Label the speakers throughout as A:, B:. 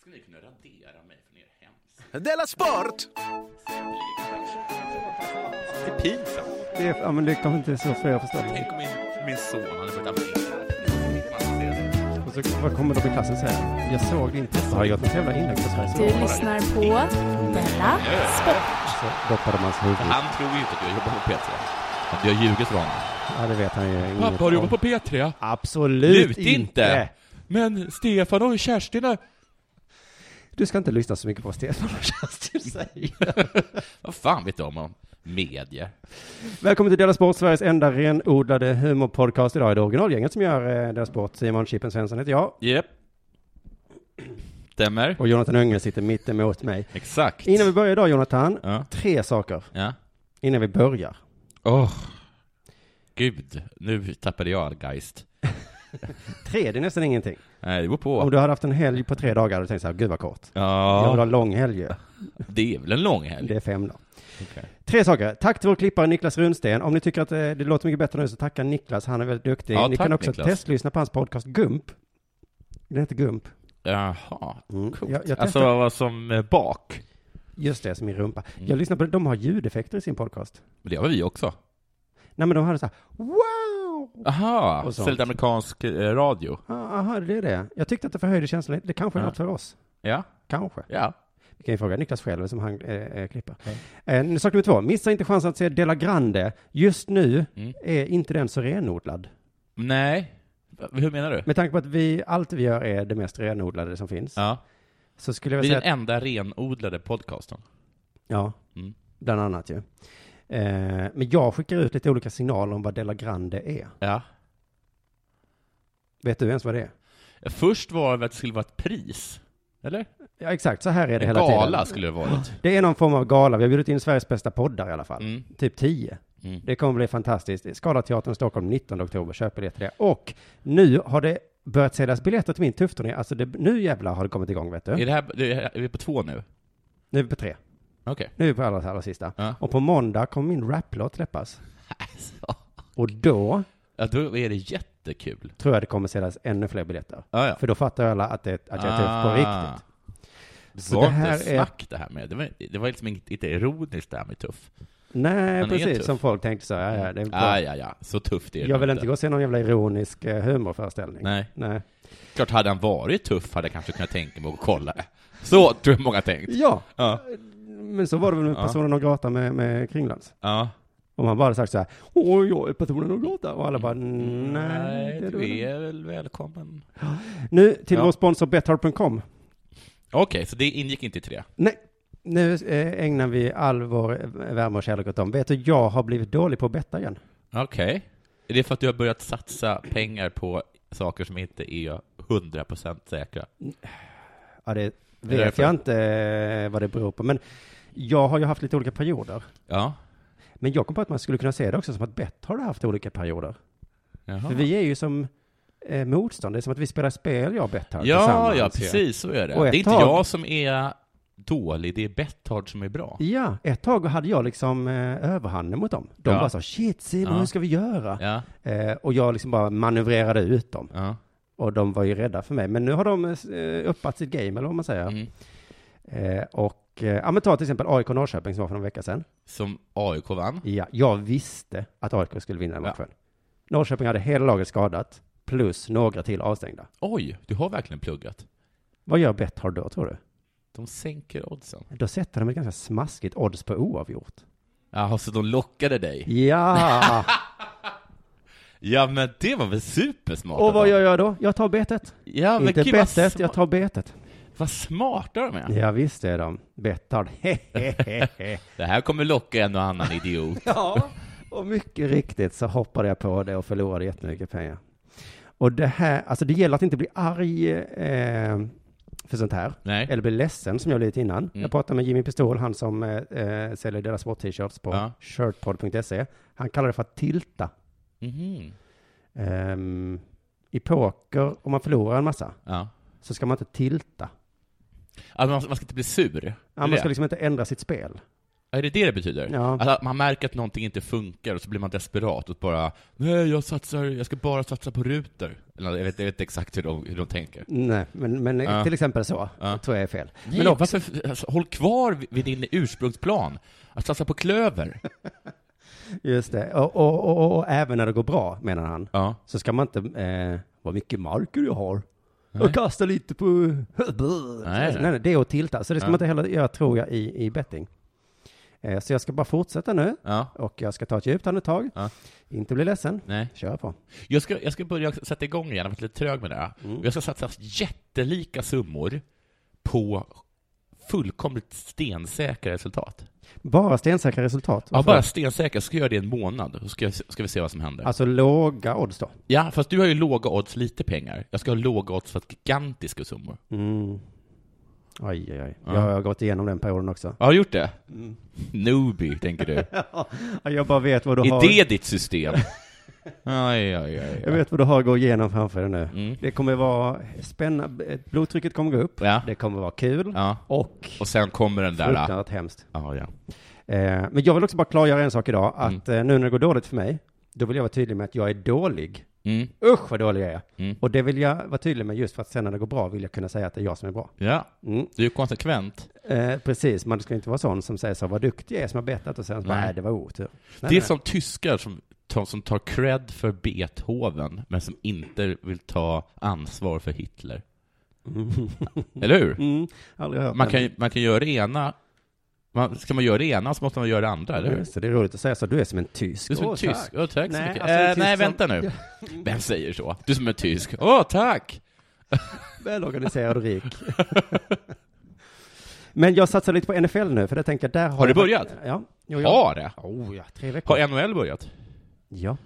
A: skulle ni kunna radera mig från er hemsida?
B: Della Sport!
C: Det är pinsamt.
D: Det, är- ja, men det kommer inte så för jag förstår.
C: Tänk om min, min son hade börjat abonnera.
D: Och så vad kommer de i klassen säga? Jag såg din test. Har jag gjort något jävla inlägg på Sveriges
E: Du
D: Radio?
E: lyssnar på Della Sport.
D: Så doppade man sig i huvudet.
C: Han tror ju inte att jag jobbar på P3. Att jag ljuger för honom.
D: Ja, det vet han ju. inget
C: Pappa, har du
D: om.
C: jobbat på P3?
D: Absolut
C: Lut
D: inte.
C: inte. Men Stefan och Kerstin är...
D: Du ska inte lyssna så mycket på vad Stefan och Kerstin säger.
C: Vad fan vet de om media?
D: Välkommen till Della Sport, Sveriges enda renodlade humorpodcast. Idag är det originalgänget som gör eh, Della Sport. Simon Chippen Svensson heter jag.
C: Japp. Stämmer.
D: Och Jonathan Unge sitter mitt emot mig.
C: Exakt.
D: Innan vi börjar idag, Jonathan.
C: Ja.
D: Tre saker
C: Ja.
D: innan vi börjar.
C: Åh. Gud, nu tappade jag all geist.
D: Tre, det är nästan ingenting.
C: Nej, det beror
D: Om
C: på.
D: du hade haft en helg på tre dagar hade du tänkt så här, gud vad kort. Jag vill ha
C: Ja,
D: en lång helg ju.
C: det är väl en lång helg?
D: Det är fem dagar.
C: Okej.
D: Tre saker. Tack till vår klippare Niklas Runsten. Om ni tycker att eh, det låter mycket bättre nu så tacka Niklas. Han är väldigt duktig.
C: Ja,
D: ni
C: tack,
D: kan också
C: Niklas.
D: testlyssna på hans podcast Gump. Den heter Gump.
C: Jaha.
D: Mm.
C: Coolt.
D: Jag, jag
C: alltså
D: testar-
C: vad som eh, bak.
D: Just det, som min rumpa.
C: Mm.
D: Jag lyssnar på det. De har ljudeffekter i sin podcast.
C: Men det har vi också.
D: Nej, men de hade så här, wow!
C: Aha,
D: Och sånt.
C: så lite amerikansk eh, radio.
D: Ah, Aha, det är det. Jag tyckte att det förhöjde känslan lite. Det kanske är
C: Ja.
D: något för oss.
C: Ja,
D: Kanske.
C: ja.
D: Vi kan ju fråga Niklas själv som han eh, eh, klipper. Eh, nu sak nummer två. Missa inte chansen att se Della Grande. Just nu
C: Mm.
D: är inte den så renodlad.
C: Nej. Va- Hur menar du?
D: Med tanke på att vi, allt vi gör är det mest renodlade som finns.
C: Ja.
D: Så skulle jag
C: Vi
D: vilja
C: är
D: säga att,
C: den enda renodlade podcasten.
D: ja,
C: Mm.
D: bland annat ju. Eh, men jag skickar ut lite olika signaler om vad Della Grande är.
C: Ja.
D: Vet du ens vad det är?
C: Först var det väl att det skulle vara ett pris? Eller?
D: Ja, exakt. Så här är det
C: En
D: hela
C: gala
D: tiden.
C: skulle det varit.
D: Det är någon form av gala. Vi har bjudit in Sveriges bästa poddar i alla fall.
C: Mm.
D: Typ 10.
C: Mm.
D: Det kommer bli fantastiskt. Skalateatern Stockholm 19 oktober. Köp biljetter där. Och nu har det börjat säljas biljetter till min tuffturné. Alltså det, nu jävlar har det kommit igång vet du.
C: Är, det här, det är är vi på två nu?
D: Nu är vi på tre.
C: Okej.
D: Nu är vi på allra, allra sista.
C: Ja.
D: Och på måndag kommer min raplåt släppas.
C: Alltså.
D: Och då
C: Ja, då är det jättekul.
D: tror jag det kommer säljas ännu fler biljetter.
C: Ja, ja.
D: För då fattar alla att, det, att jag är tuff på
C: Ah.
D: riktigt.
C: Det
D: Så
C: var
D: det här
C: inte
D: är-
C: snack det här med. Det var, det var liksom inte, inte ironiskt det här med tuff.
D: Nej,
C: Han är
D: precis.
C: tuff.
D: Som folk tänkte så. Ja, ja, det är bra.
C: Ah, ja, ja. Så tufft är det
D: jag vill inte gå och se någon jävla ironisk eh, humorföreställning.
C: Nej.
D: Nej.
C: Klart, hade han varit tuff hade jag kanske kunnat tänka mig att kolla. Så tror jag många tänkt.
D: Ja,
C: Ja.
D: men så var det väl med
C: Ja.
D: personen och grata med, med Kringlands.
C: Ja.
D: Om han bara sagt så här, åh, jag är personen och grata. Och alla bara, nej,
C: Nej,
D: det är
C: du
D: du
C: är väl välkommen.
D: Nu till
C: Ja.
D: vår sponsor Betthard.com.
C: Okej, så det ingick inte i tre?
D: Nej, nu eh, ägnar vi all vår eh, värme och kärlek åt dem. Vet du, jag har blivit dålig på att betta igen.
C: Okej. Är det för att du har börjat satsa pengar på saker som inte är 100% säkra?
D: Ja, det
C: det
D: vet
C: därför?
D: jag inte eh, vad det beror på, men jag har ju haft lite olika perioder.
C: Ja.
D: Men jag kom på att man skulle kunna se det också som att Betthard har haft olika perioder.
C: Jaha.
D: För vi är ju som eh, motstånd, det är som att vi spelar spel, jag och Betthard
C: Ja,
D: tillsammans.
C: ja,
D: ju.
C: precis så är det.
D: Och
C: Det
D: ett
C: är inte
D: tag-
C: jag som är dålig, det är Betthard som är bra.
D: Ja, ett tag hade jag liksom eh, överhanden mot dem. De
C: Ja.
D: bara sa shit Simon,
C: Ja.
D: hur ska vi göra?
C: Ja,
D: Eh, och jag liksom bara manövrerade ut dem.
C: ja.
D: Och de var ju rädda för mig. Men nu har de eh, uppat sitt game, eller vad man säger.
C: Mm.
D: Eh, och, eh, ja men ta till exempel AIK Norrköping som var för någon vecka sedan.
C: Som AIK vann.
D: Ja, jag visste att AIK skulle vinna den
C: Ja.
D: matchen. Norrköping hade hela laget skadat, plus några till avstängda.
C: Oj, du har verkligen pluggat.
D: Vad gör Betthard då, tror du?
C: De sänker oddsen.
D: Då sätter de ett ganska smaskigt odds på oavgjort.
C: Jaha, så alltså, de lockade dig?
D: Ja!
C: Ja, men det var väl supersmart
D: och
C: av
D: vad
C: dem?
D: gör jag då? Jag tar betet.
C: Ja, men
D: Inte
C: gud, vad,
D: bettet,
C: sma-
D: jag tar betet.
C: vad smarta de är.
D: Ja, visst är de. Bettard.
C: Det här kommer locka en och annan idiot.
D: ja, och mycket riktigt så hoppade jag på det och förlorade jättemycket pengar. Och det här, alltså det gäller att inte bli arg eh, för sånt här.
C: Nej. Mm.
D: Eller bli ledsen som jag blev lite innan. Jag pratade med Jimmy Pistol, han som eh, eh, säljer deras sport-t-shirts på
C: Ja.
D: shirtpod.se. Han kallar det för att tilta.
C: Mhm.
D: Ehm, I poker, om man förlorar en massa,
C: Ja.
D: så ska man inte tilta.
C: Alltså, man, man ska inte bli sur.
D: Ja,
C: Det
D: man
C: är
D: ska
C: det. Eh.
D: liksom inte ändra sitt spel.
C: Är det det det betyder?
D: Ja.
C: Att man märker att någonting inte funkar och så blir man desperat och bara Nej, jag satsar, jag ska bara satsa på ruter. Eller, jag, vet, jag vet inte exakt hur de, hur de tänker.
D: Nej, men, men
C: Ja.
D: till exempel så.
C: Ja.
D: tror jag är fel.
C: Nej,
D: Men också-
C: varför, alltså, håll kvar vid- vid din ursprungsplan. Att satsa på klöver.
D: Just det. Och, och, och, och, och även när det går bra, menar han,
C: Ja.
D: så ska man inte, eh, vad mycket marker jag har.
C: Nej.
D: Jag kastar lite på...
C: Nej,
D: nej, nej, det är att tilta. Så det ska
C: Ja.
D: man inte heller göra, tror jag, i, i betting. Eh, så jag ska bara fortsätta nu.
C: Ja.
D: Och jag ska ta ett djupt andetag.
C: Ja.
D: Inte bli ledsen.
C: Nej.
D: Kör på.
C: Jag ska, jag ska börja sätta igång igen, jag har varit lite trög med det. här.
D: Mm.
C: Jag ska satsa jättelika summor på fullkomligt stensäkra resultat.
D: Bara stensäkra resultat.
C: Ja, bara stensäkra, så ska jag göra det i en månad, så ska, jag, ska vi se vad som händer.
D: Alltså låga odds då.
C: Ja, fast du har ju låga odds, lite pengar. Jag ska ha låga odds för gigantiska summor.
D: Mm. Oj, oj, oj.
C: Ja.
D: Jag har gått igenom den perioden också.
C: Jag har gjort det? Newbie, tänker du.
D: Ja, Jag bara vet vad du
C: Är
D: har.
C: det ditt system? Aj, aj, aj.
D: Jag
C: aj.
D: vet vad du har att gå igenom framför dig nu.
C: Mm.
D: Det kommer vara spännande. Blodtrycket kommer gå upp.
C: Ja.
D: Det kommer vara kul.
C: Ja.
D: Och
C: Och sen kommer den där... ah,
D: fruktansvärt hemskt.
C: Ja, ja.
D: Eh, men jag vill också bara klargöra en sak idag. Att
C: Mm.
D: eh, nu när det går dåligt för mig, då vill jag vara tydlig med att jag är dålig.
C: Mm.
D: Usch vad dålig jag är.
C: Mm.
D: Och det vill jag vara tydlig med just för att sen när det går bra vill jag kunna säga att det är jag som är bra.
C: ja.
D: Mm.
C: Du är konsekvent.
D: Eh, precis, man ska inte vara sån som säger så, vad duktig jag är som har bettat och sen så bara,
C: Nej.
D: nej det var otur. Nej,
C: det är
D: nej.
C: som tyskar som, tar- som tar cred för Beethoven, men som inte vill ta ansvar för Hitler. Eller hur?
D: Mm, aldrig hört
C: Man
D: den.
C: kan, ju- man kan göra det ena, man, ska man göra det ena så måste man göra det andra, eller hur?
D: Så det är roligt att säga så, du är som en tysk.
C: Du är som
D: Åh,
C: en tysk.
D: tack.
C: Åh, tack så
D: Nej,
C: mycket.
D: alltså, en
C: Eh,
D: tysk
C: nej,
D: som-
C: vänta nu. Vem säger så? Du som är tysk. Åh, tack!
D: Välorganiserad och rik. Men jag satsar lite på NFL nu, för jag tänker där har...
C: Har du
D: jag-
C: börjat?
D: Ja. Jo, jag...
C: Har det?
D: Oh, ja, tre veckor.
C: Har NHL börjat?
D: Ja.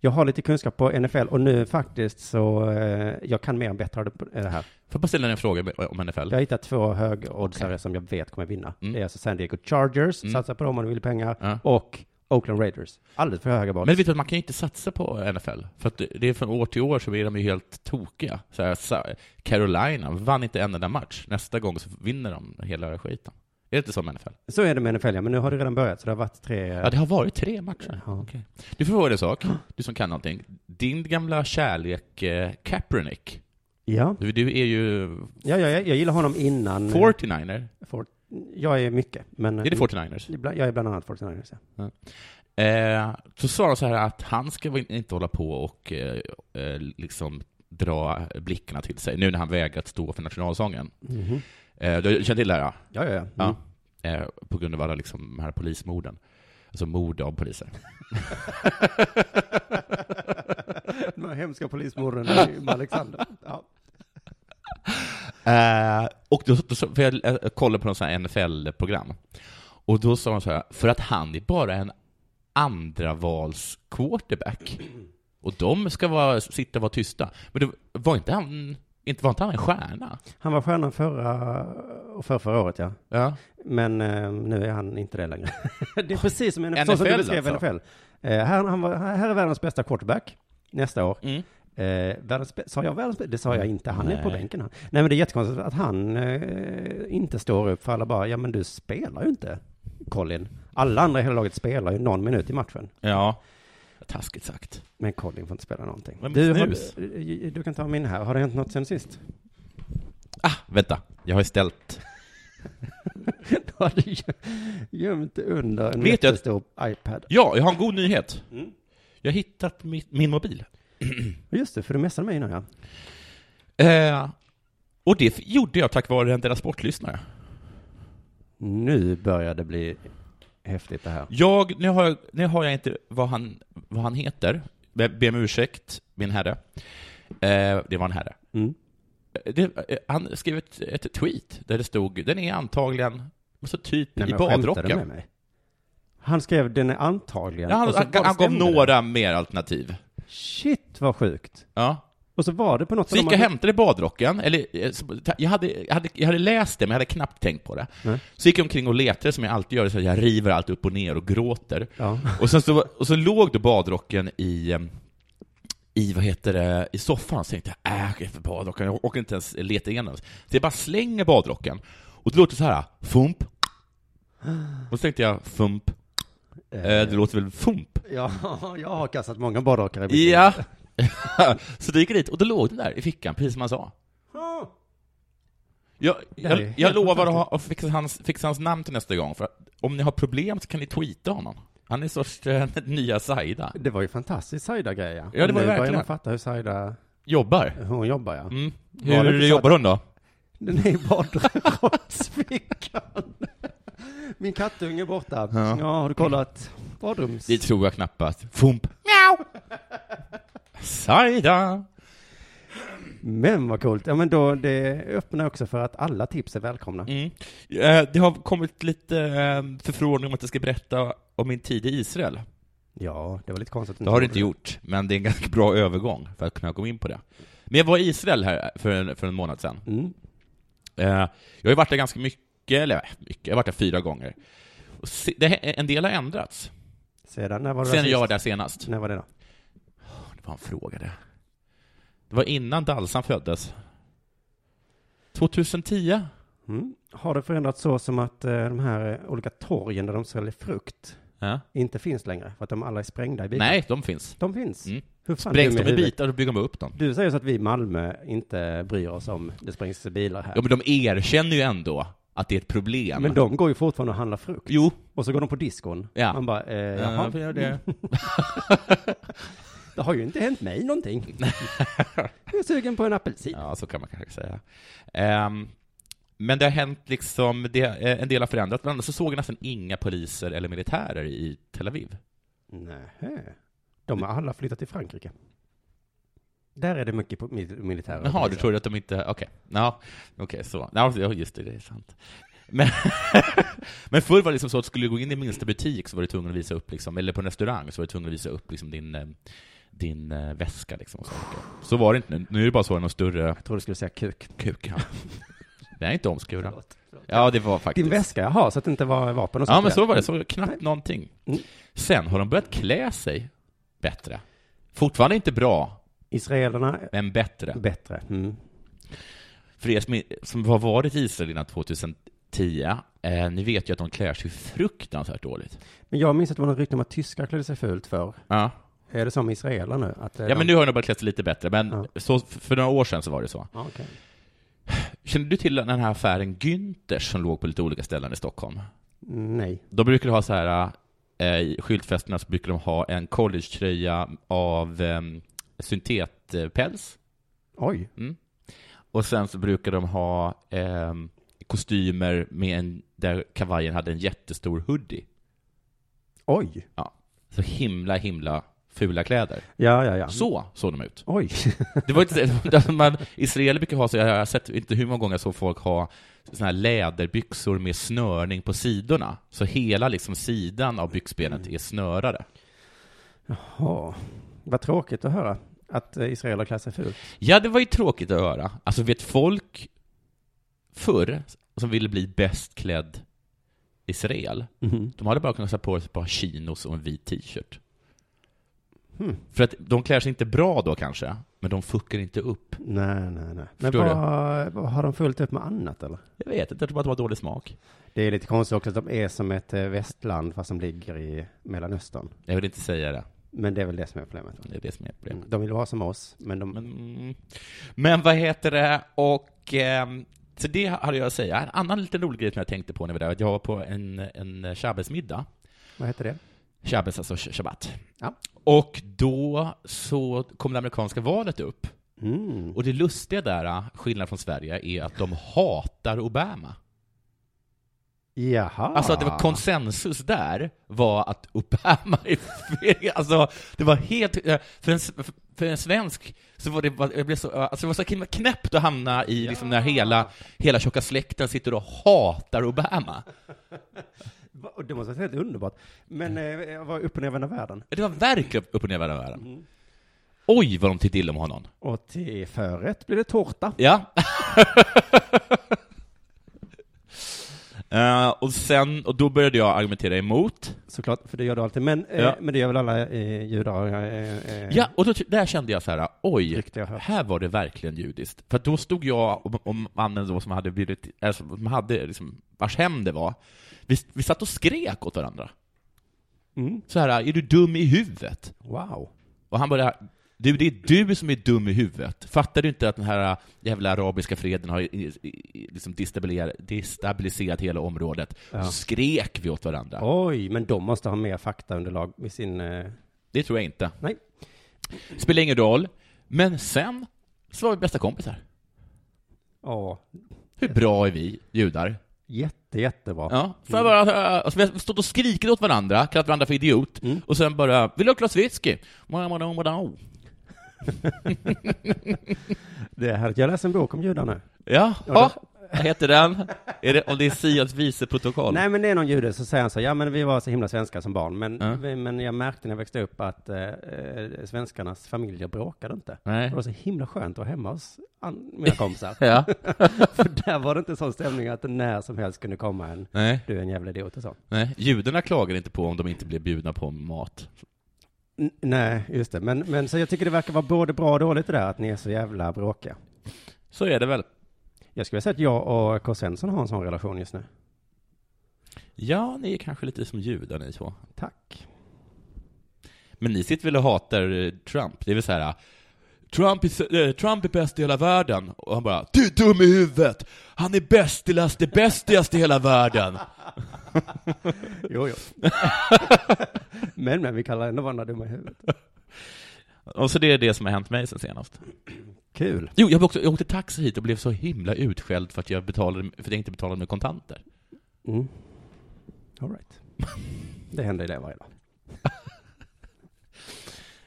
D: Jag har lite kunskap på NFL och nu faktiskt så, eh, jag kan mer än bättre av det- det här.
C: Får jag bara ställa dig en fråga om NFL?
D: Jag har hittat två högoddsare som jag vet kommer vinna.
C: Mm.
D: Det är alltså San Diego Chargers,
C: Mm.
D: satsa på dem om du vill pengar,
C: Ja.
D: och Oakland Raiders. Alldeles för höga odds.
C: Men vet du, att man kan ju inte satsa på NFL, för att det är från år till år så är de ju helt tokiga. Så här, sa- Carolina vann inte en enda match. Nästa gång så vinner de hela skiten. Är det inte så med NFL?
D: Så är det med NFL, ja. men nu har det redan börjat, så det har varit tre...
C: Ja, det har varit tre matcher.
D: Ja.
C: Okej. Du får fråga dig en sak, du som kan någonting. Din gamla kärlek eh, Kaepernick,
D: ja.
C: du, du är ju
D: ja, ja, jag, jag gillar honom innan...
C: 49er.
D: Fort. Jag är mycket, men...
C: Är det 49ers?
D: Ibland- Jag är bland annat 49ers, ja.
C: Eh, så sa de så här att han ska väl inte hålla på och eh, eh, liksom dra blickarna till sig, nu när han vägrat stå för nationalsången.
D: Mhm.
C: Eh, du känner till det här? ja?
D: Ja, ja, ja. Mm.
C: Ja. Eh, på grund av alla liksom, de här polismorden. Alltså mord av poliser.
D: De här hemska polismorden i Alexander. Ja.
C: Eh, och då, då, för jag eh, kollade på någon sån här NFL-program. Och då sa de så här, för att han är bara en andravals quarterback. Och de ska vara, sitta och vara tysta. Men det, var, inte han, inte, var inte han en stjärna?
D: Han var stjärnan förra och för förra året, ja.
C: Ja.
D: Men eh, nu är han inte det längre. det är precis som, NFL,
C: NFL
D: så som du beskrev
C: alltså.
D: NFL. Eh, här, han var, här är världens bästa quarterback nästa år.
C: Mm.
D: Eh, världens, bä- sa jag världens bä- Det sa jag inte, han är på
C: Nej.
D: bänken han. Nej men det är jättekonstigt att han eh, inte står upp för alla bara, ja men du spelar ju inte Colin. Alla andra i hela laget spelar ju någon minut i matchen.
C: Ja. Taskigt sagt.
D: Men Colin får inte spela någonting.
C: Men
D: Du, har, eh,
C: snus.
D: du kan ta min här, har det hänt något sen sist?
C: Ah, vänta. Jag har ju ställt.
D: du har du gö- gömt det under en
C: Vet jag att-
D: jättestor iPad.
C: Ja, jag har en god nyhet. Jag har hittat mitt, min mobil.
D: Just det, för du messade mig innan ja.
C: Eh, och det f- gjorde jag tack vare en Della Sport-lyssnare.
D: Nu börjar det bli häftigt det här.
C: Jag, nu har jag, nu har jag inte vad han, vad han heter. Jag ber om ursäkt, min herre. Eh, det var en herre.
D: Mm.
C: Eh, Det, eh, han skrev ett, ett tweet där det stod, den är antagligen, så typ i
D: men skämtar du
C: badrocken.
D: med mig? Han skrev den är antagligen.
C: Ja, han,
D: och så
C: han,
D: bara
C: han gav
D: stämde det.
C: några mer alternativ.
D: Shit vad sjukt.
C: Ja.
D: Och så var det på något
C: Så gick
D: de
C: jag
D: hade-
C: hämtade badrocken, eller eh, så- ta- jag hade, jag, hade, jag hade läst det men jag hade knappt tänkt på det. Så gick jag omkring och letade som jag alltid gör, så jag river allt upp och ner och gråter.
D: Ja.
C: Och, sen så, och så låg då badrocken i, eh, i, vad heter det, i soffan, så tänkte jag äh, jag är för badrocken, jag orkar inte ens leta igenom. Så jag bara slänger badrocken, och det låter så här, fump. Och så tänkte jag, fump. Eh, det låter väl fump?
D: Ja, jag har kastat många badrakar i mitt liv.
C: Ja. så då gick jag dit, och då låg den där i fickan, precis som han sa.
D: Ah.
C: Jag,
D: här är
C: jag,
D: helt
C: jag lovar att, ha, att fixa, hans, fixa hans namn till nästa gång, för att om ni har problem så kan ni tweeta honom. Han är sorts eh, nya Saida.
D: Det var ju fantastiskt Saida-grej ja.
C: det var
D: Nu börjar
C: verkligen.
D: man fatta hur Saida,
C: Jobbar.
D: hur hon jobbar ja.
C: Mm.
D: Var det inte
C: Hur
D: så
C: jobbar hon då?
D: Den är i badrumsfickan. Min kattunge är borta. Ja.
C: Ja.
D: har du kollat badrums?
C: Det tror jag knappast. Fump. Miau! Saida!
D: Men vad coolt. Ja men då, det öppnar också för att alla tips är välkomna.
C: Mm. Eh, Det har kommit lite eh, förfrågningar om att jag ska berätta om min tid i Israel.
D: Ja, det var lite konstigt.
C: Det har du inte gjort, men det är en ganska bra övergång för att kunna gå in på det. Men jag var i Israel här för en, för en månad sedan.
D: Mm.
C: Eh, Jag har ju varit där ganska mycket, eller eh, mycket, jag har varit där fyra gånger. Och se- det, en del har ändrats
D: Sedan, när var det
C: sen
D: sist?
C: jag var där senast.
D: När var det då?
C: Det var en fråga det. Det var innan Dalsan föddes. 2010?
D: Mm. Har det förändrats så som att eh, de här eh, olika torgen där de säljer frukt
C: Ja.
D: inte finns längre? För att de alla är sprängda i bitar?
C: Nej, de finns.
D: De finns.
C: Mm.
D: Hur fan
C: Sprängs
D: dum är
C: de i
D: huvudet?
C: bitar och bygger de upp dem.
D: Du säger så att vi i Malmö inte bryr oss om det sprängs bilar här.
C: Ja, men de erkänner ju ändå att det är ett problem.
D: Men de går ju fortfarande och handlar frukt.
C: Jo.
D: Och så går de på diskon.
C: Ja.
D: Man bara, eh, jaha,
C: vi gör det.
D: det har ju inte hänt mig någonting. jag är sugen på en apelsin.
C: Ja, så kan man kanske säga. Ehm, men det har hänt liksom, det, eh, en del har förändrats, men annars så såg jag nästan inga poliser eller militärer i Tel Aviv.
D: Nähä. De har alla flyttat till Frankrike. Där är det mycket po- mil- militärer.
C: Jaha, du trodde att de inte, okej, ja, okej, så, ja, ja, just det, det är sant. Men, men förr var det liksom så att skulle du gå in i minsta butik så var du tvungen att visa upp, liksom, eller på en restaurang så var du tvungen att visa upp liksom, din, eh, din eh, väska. Liksom, och så, så var det inte nu, nu är det bara så att någon större
D: Jag trodde du skulle säga kuk.
C: kuk här. Den är inte omskuren.
D: Förlåt, förlåt.
C: Ja, det var
D: Din
C: faktiskt.
D: väska, jaha, så att det inte var vapen och sånt
C: Ja, men
D: där.
C: så var det. Så var det knappt någonting.
D: Mm.
C: Sen har de börjat klä sig bättre. Fortfarande inte bra,
D: Israelerna är
C: men bättre.
D: bättre. Mm.
C: För er som, är- som har varit i Israel innan 2010, eh, ni vet ju att de klär sig fruktansvärt dåligt.
D: Men jag minns att det var något rykte om att tyskar klädde sig fult för.
C: Ja,
D: Är det som israeler nu? Att eh,
C: ja men nu har de börjat klä sig lite bättre, men
D: Ja.
C: så, för några år sedan så var det så.
D: Ja, okej.
C: Känner du till den här affären Günthers som låg på lite olika ställen i Stockholm?
D: Nej.
C: De brukar ha så här, eh, i skyltfästena så brukar de ha en collegetröja av eh, syntetpäls.
D: Oj.
C: Och sen så brukar de ha eh, kostymer med en, där kavajen hade en jättestor hoodie.
D: Oj.
C: Så himla, himla fula kläder.
D: Ja, ja, ja.
C: Så såg de ut.
D: Oj.
C: Det var inte, alltså man, israeler brukar ha så, jag har sett inte hur många gånger jag såg folk ha såna här läderbyxor med snörning på sidorna. Så hela liksom sidan av byxbenet är snörade.
D: Ja. Vad tråkigt att höra att eh, israeler klär sig fult.
C: Ja, det var ju tråkigt att höra. Alltså vet folk förr som ville bli bäst klädd israel, De hade bara kunnat sätta på sig ett par chinos och en vit t-shirt.
D: Hmm.
C: För att de klär sig inte bra då kanske, men de fuckar inte upp.
D: Nej, nej, nej. Men
C: Förstår du?
D: vad, vad har de fullt upp med annat eller?
C: Jag vet inte, jag tror bara att det var dålig smak.
D: Det är lite konstigt också att de är som ett eh, västland fast de ligger i Mellanöstern.
C: Jag vill inte säga det,
D: Men det är väl det som är problemet. va?
C: det är det som är problemet.
D: Mm. De vill vara som oss, men de...
C: Men, men vad heter det, och ehm, så det hade jag att säga. En annan liten rolig grej som jag tänkte på när vi var där, att jag var på en, en shabbesmiddag.
D: Vad heter det?
C: Shabbes, alltså sh- shabbat.
D: Ja.
C: Och då så kom det amerikanska valet upp.
D: Mm.
C: Och det lustiga där, skillnad från Sverige, är att de hatar Obama.
D: Jaha.
C: Alltså att det var konsensus där var att Obama är fel. Alltså, det var helt... eh, För en, s- för en svensk så var det bara- jag blev så, alltså det var så himla knäppt att hamna i liksom när hela, hela tjocka släkten sitter och hatar Obama.
D: Va- och Det måste vara helt underbart. Men eh,
C: Mm.
D: jag var upp och nervända världen. Mm.
C: Det var verkligen upp och ner i världen. Oj, vad de tyckte illa om honom.
D: Och till förrätt blir det tårta.
C: Ja. Eh, och, sen, och då började jag argumentera emot.
D: Såklart, för det gör du alltid. Men, eh,
C: Ja.
D: men det gör väl alla eh, judar? Eh, eh,
C: Ja, och då, ty- där kände jag så här, oj,
D: Tyckte jag hört.
C: här var det verkligen judiskt. För att då stod jag och, och mannen då som hade blivit, alltså, som hade liksom, vars hem det var, vi, vi satt och skrek åt varandra.
D: Mm.
C: Så här, är du dum i huvudet?
D: Wow.
C: Och han bara, du, det är du som är dum i huvudet. Fattar du inte att den här eh, jävla arabiska freden har i- i- i- liksom destabiliserat, destabiliserat hela området?
D: Ja.
C: Så skrek vi åt varandra.
D: Oj, men de måste ha mer faktaunderlag i sin... Eh,
C: Det tror jag inte.
D: Nej.
C: Spelar ingen roll. Men sen så var vi bästa kompisar.
D: ja,
C: Hur bra är vi judar?
D: jätte, jättebra.
C: Ja. För bara, alltså, vi har stått och skrikit åt varandra, kallat varandra för idiot,
D: Mm.
C: och sen bara ”Vill du ha ett glas whisky?” Mwah, mwah, mwah, mwah.
D: Det är härligt. Jag läser en bok om judar nu.
C: Ja,
D: Ja,
C: ja. Vad heter den? Är det, om det är Sias viceprotokoll?
D: Nej, men det är någon jude som säger han så, här, ja men vi var så himla svenska som barn, men,
C: Ja.
D: vi- men jag märkte när jag växte upp att eh, eh, svenskarnas familjer bråkade inte.
C: Nej.
D: Det var så himla skönt att vara hemma hos an- mina kompisar.
C: Ja.
D: För där var det inte sån stämning att det när som helst kunde komma en,
C: Nej.
D: du är en jävla idiot och så.
C: Nej. Judarna klagar inte på om de inte blir bjudna på mat.
D: N- nej, just det. Men, men så jag tycker det verkar vara både bra och dåligt det där att ni är så jävla bråkiga.
C: Så är det väl.
D: Jag skulle säga att jag och K. Svensson har en sån relation just nu.
C: Ja, ni är kanske lite som judar ni två.
D: Tack.
C: Men ni sitter väl och hatar eh, Trump? Det är väl så här. Trump är, eh, Trump är bäst i hela världen. Och han bara Du är dum i huvudet! Han är bästigast, det bästigast i hela världen!
D: Jo, jo. men, men vi kallar ändå varandra dumma i huvudet.
C: Och så det är det som har hänt mig sen senast.
D: Kul.
C: Jo, jag, var också, jag åkte taxi hit och blev så himla utskälld för att jag, betalade, för att jag inte betalade med kontanter.
D: Mm. All right. Det händer ju det varje dag.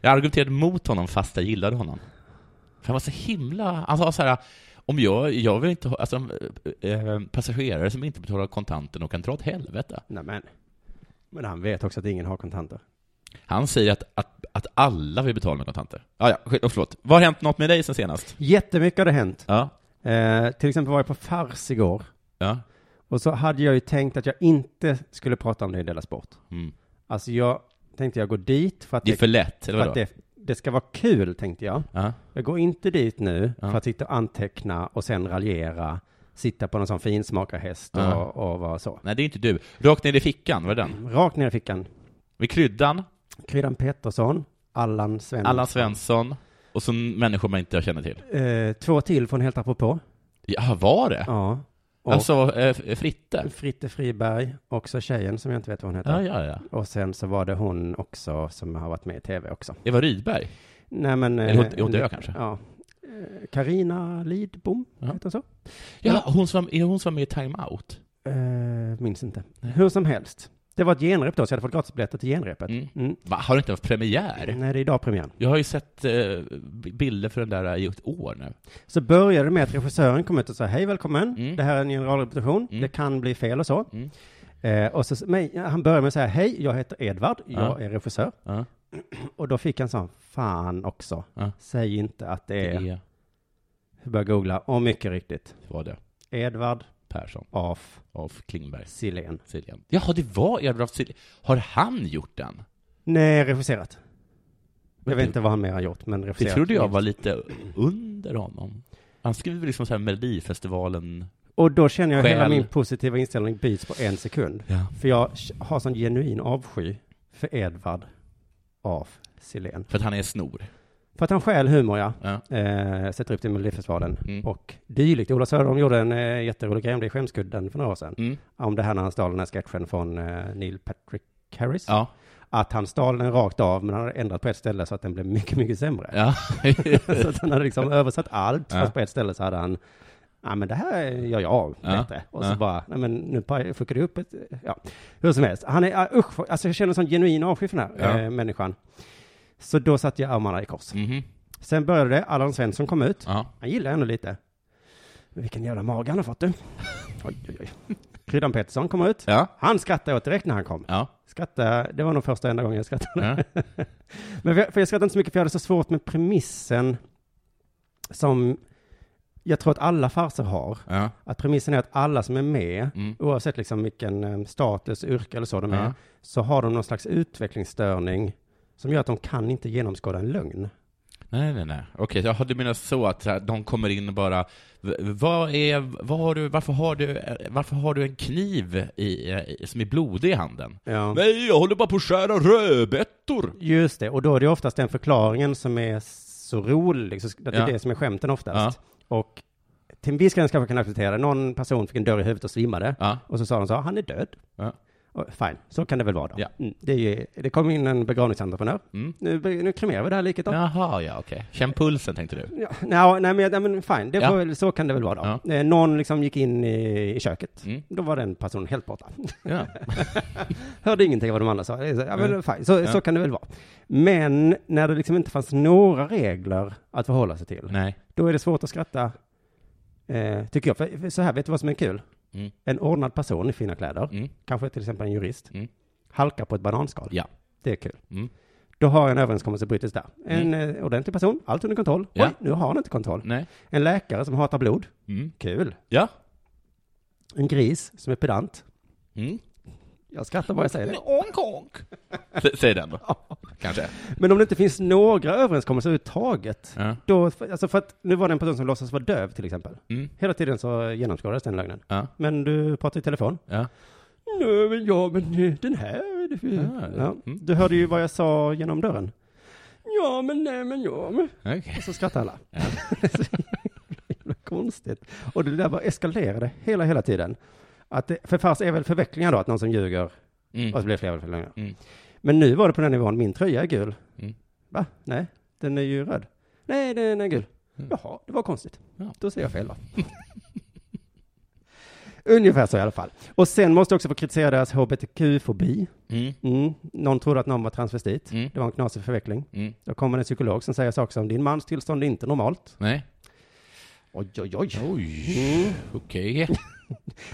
C: Jag argumenterade mot honom fast jag gillade honom. För han var så himla... Han sa så här, om jag, jag vill inte ha... Alltså, eh, eh, passagerare som inte betalar kontanten och kan dra åt helvete.
D: Nej, men. Men han vet också att ingen har kontanter.
C: Han säger att, att, att alla vill betala med kontanter. Ah, ja, skit- och förlåt. Vad har hänt något med dig sen senast?
D: Jättemycket har det hänt.
C: Ja.
D: Eh, till exempel var jag på Fars igår.
C: Ja.
D: Och så hade jag ju tänkt att jag inte skulle prata om det i Della Sport.
C: Mm.
D: Alltså jag tänkte jag går dit för att,
C: Det är för lätt,
D: för
C: eller
D: att
C: vadå?
D: det, det ska vara kul, tänkte jag.
C: Ja.
D: Jag går inte dit nu
C: Ja.
D: för att sitta och anteckna och sen raljera, sitta på någon sån finsmakarhäst och,
C: Ja.
D: och vara så.
C: Nej, det är inte du. Rakt ner i fickan, var det den?
D: Rakt ner i fickan.
C: Med kryddan,
D: Kryddan Pettersson, Allan Svensson.
C: Allan Svensson, och så människor man inte känner till.
D: Eh, två till från Helt apropå.
C: Ja, var det?
D: Ja. Och
C: Alltså, eh, Fritte?
D: Fritte Friberg, också tjejen som jag inte vet vad hon heter.
C: Ja, ja, ja.
D: Och sen så var det hon också som har varit med i tv också.
C: Eva Rydberg?
D: Nej men... eh,
C: Eller hon- hon dör kanske?
D: Ja. Eh, Carina Lidbom,
C: Ja.
D: heter hon så?
C: Ja, hon som, är hon som är i Time Out?
D: Eh, minns inte. Hur som helst. Det var ett genrep då, så jag hade fått gratisbiljetter till genrepet.
C: Mm.
D: Mm.
C: Va, har det inte haft premiär?
D: Nej, det är idag premiären.
C: Jag har ju sett eh, bilder för den där i ett år nu.
D: Så började det med att regissören kom ut och sa hej välkommen,
C: Mm.
D: det här är en generalrepetition,
C: Mm.
D: det kan bli fel och så.
C: Mm.
D: Eh, och så men, han började med att säga hej, jag heter Edvard, jag
C: Ja.
D: är regissör.
C: Ja.
D: Och då fick han sån, fan också,
C: Ja.
D: säg inte att det är,
C: Det
D: jag började googla, och mycket riktigt,
C: var det.
D: Edvard
C: Persson,
D: af
C: Alf Klingberg,
D: Silén.
C: Siljan. Jaha, det var Edward Siljan. Har han gjort den?
D: Nej, regisserat. Jag
C: Men
D: vet
C: du-
D: inte vad han mer har gjort, men
C: Det
D: regisserat.
C: trodde jag var lite under honom. Han skrev liksom så här Melodifestivalen.
D: Och då känner jag hela
C: Själ.
D: min positiva inställning byts på en sekund.
C: Ja.
D: För jag har sån genuin avsky för Edvard af Silén.
C: För att han är snor.
D: För att han stjäl humor, ja.
C: Ja.
D: Eh, sätter upp det i Melodifestivalen
C: Mm.
D: och dylikt. Ola Söderholm gjorde en eh, jätterolig grej om det i Skämskudden för några år sedan.
C: Mm.
D: Om det här när han stal den här sketchen från eh, Neil Patrick Harris.
C: Ja.
D: Att han stal den rakt av, men han hade ändrat på ett ställe så att den blev mycket, mycket sämre.
C: ja.
D: så att han hade liksom översatt allt,
C: Ja.
D: fast på ett ställe så hade han Ja men det här gör jag av
C: Ja.
D: bättre. Och så
C: Ja.
D: bara, nej men nu paj- fuckar du upp ett, ja. Hur som helst, han är, ah, usch, alltså jag känner en sån genuin avsky för den här
C: Ja.
D: eh, människan. Så då satte jag armarna i kors.
C: Mhm.
D: Sen började det, Allan Svensson kom ut.
C: ja.
D: Han gillar ändå lite. Men vilken jävla mage han har fått du. Oj, oj, oj. Kryddan Pettersson kom ut.
C: Ja.
D: Han skrattade åt direkt när han kom.
C: Ja.
D: Skrattade, det var nog första och enda gången jag skrattade.
C: Ja.
D: Men för jag, för jag skrattade inte så mycket för jag hade så svårt med premissen som jag tror att alla farser har.
C: Ja.
D: Att premissen är att alla som är med,
C: Mm.
D: oavsett liksom vilken eh, status, yrke eller så de är,
C: Ja.
D: så har de någon slags utvecklingsstörning som gör att de kan inte genomskåda en lögn.
C: Nej, nej, nej. Okej, jaha, du menar så att så här, de kommer in och bara "V- vad är, vad har du, varför har du, eh, varför har du en kniv i, eh, i- som är blodig i handen?
D: Ja.
C: Nej, jag håller bara på att skära rödbetor!
D: Just det, och då är det oftast den förklaringen som är så rolig, så att det är
C: Ja.
D: det som är skämten oftast. Och till en viss gräns kanske man kan acceptera det. Någon person fick en dörr i huvudet och svimmade.
C: Ja.
D: Och så sa de så, han är död.
C: Ja.
D: Och, fine, så kan det väl vara då.
C: Ja.
D: Mm, det, är ju, det kom in en begravningsentreprenör.
C: Mm.
D: Nu, be- nu kremerar vi det här liket då. Ja.
C: Jaha, ja, okej. Känn pulsen, tänkte du.
D: nja, nej, men, nej men fine, det
C: Ja.
D: får, väl- så kan det väl vara då.
C: Ja.
D: Eh, någon liksom gick in i, i köket.
C: Mm.
D: Då var den personen helt borta.
C: Ja.
D: Hörde ingenting av vad de andra sa. Det är så- Ja, men
C: Mm.
D: fine. Så, så
C: Ja.
D: kan det väl vara. Men när det liksom inte fanns några regler att förhålla sig till,
C: Nej.
D: då är det svårt att skratta, eh, tycker jag. För, för så här, vet du vad som är kul?
C: Mm.
D: En ordnad person i fina kläder,
C: Mm.
D: kanske till exempel en jurist,
C: Mm.
D: halkar på ett bananskal.
C: Ja.
D: Det är kul.
C: Mm.
D: Då har en överenskommelse brutits där. En eh, ordentlig person, allt under kontroll.
C: Ja. Mm.
D: Oj, nu har han inte kontroll.
C: Nej.
D: En läkare som hatar blod,
C: Mm.
D: kul.
C: Ja.
D: En gris som är pedant.
C: Mm.
D: Jag skrattar bara jag säger det.
C: Onk, onk. S- Säg den då. Kanske.
D: Men om det inte finns några överenskommelser överhuvudtaget,
C: Ja.
D: då, alltså för att nu var det en person som låtsas vara döv till exempel.
C: Mm.
D: Hela tiden så genomskådades den lögnen.
C: Ja.
D: Men du pratade i telefon.
C: Ja.
D: Nej, men ja, men eh, den här. det-
C: Ah,
D: ja.
C: mm.
D: Du hörde ju vad jag sa genom dörren. Ja, men nej, men ja, men.
C: Okej.
D: Och så skrattar alla. Så jävla konstigt. Och det där bara eskalerade hela, hela tiden. Att det, för fars är väl förvecklingar då, att någon som ljuger
C: Mm.
D: och så blir det fler förvecklingar.
C: Mm.
D: Men nu var det på den här nivån, min tröja är gul.
C: Mm.
D: Va? Nej, den är ju röd. Nej, den är gul. Jaha, det var konstigt.
C: Mm. Ja.
D: Då säger jag fel va? Ungefär så i alla fall. Och sen måste jag också få kritisera deras hbtq-fobi.
C: Mm.
D: Mm. Någon trodde att någon var transvestit.
C: Mm.
D: Det var en knasig förveckling.
C: Mm.
D: Då kommer en psykolog som säger saker som din mans tillstånd är inte normalt.
C: Nej.
D: Oj, oj, oj.
C: Oj.
D: Mm.
C: Okej.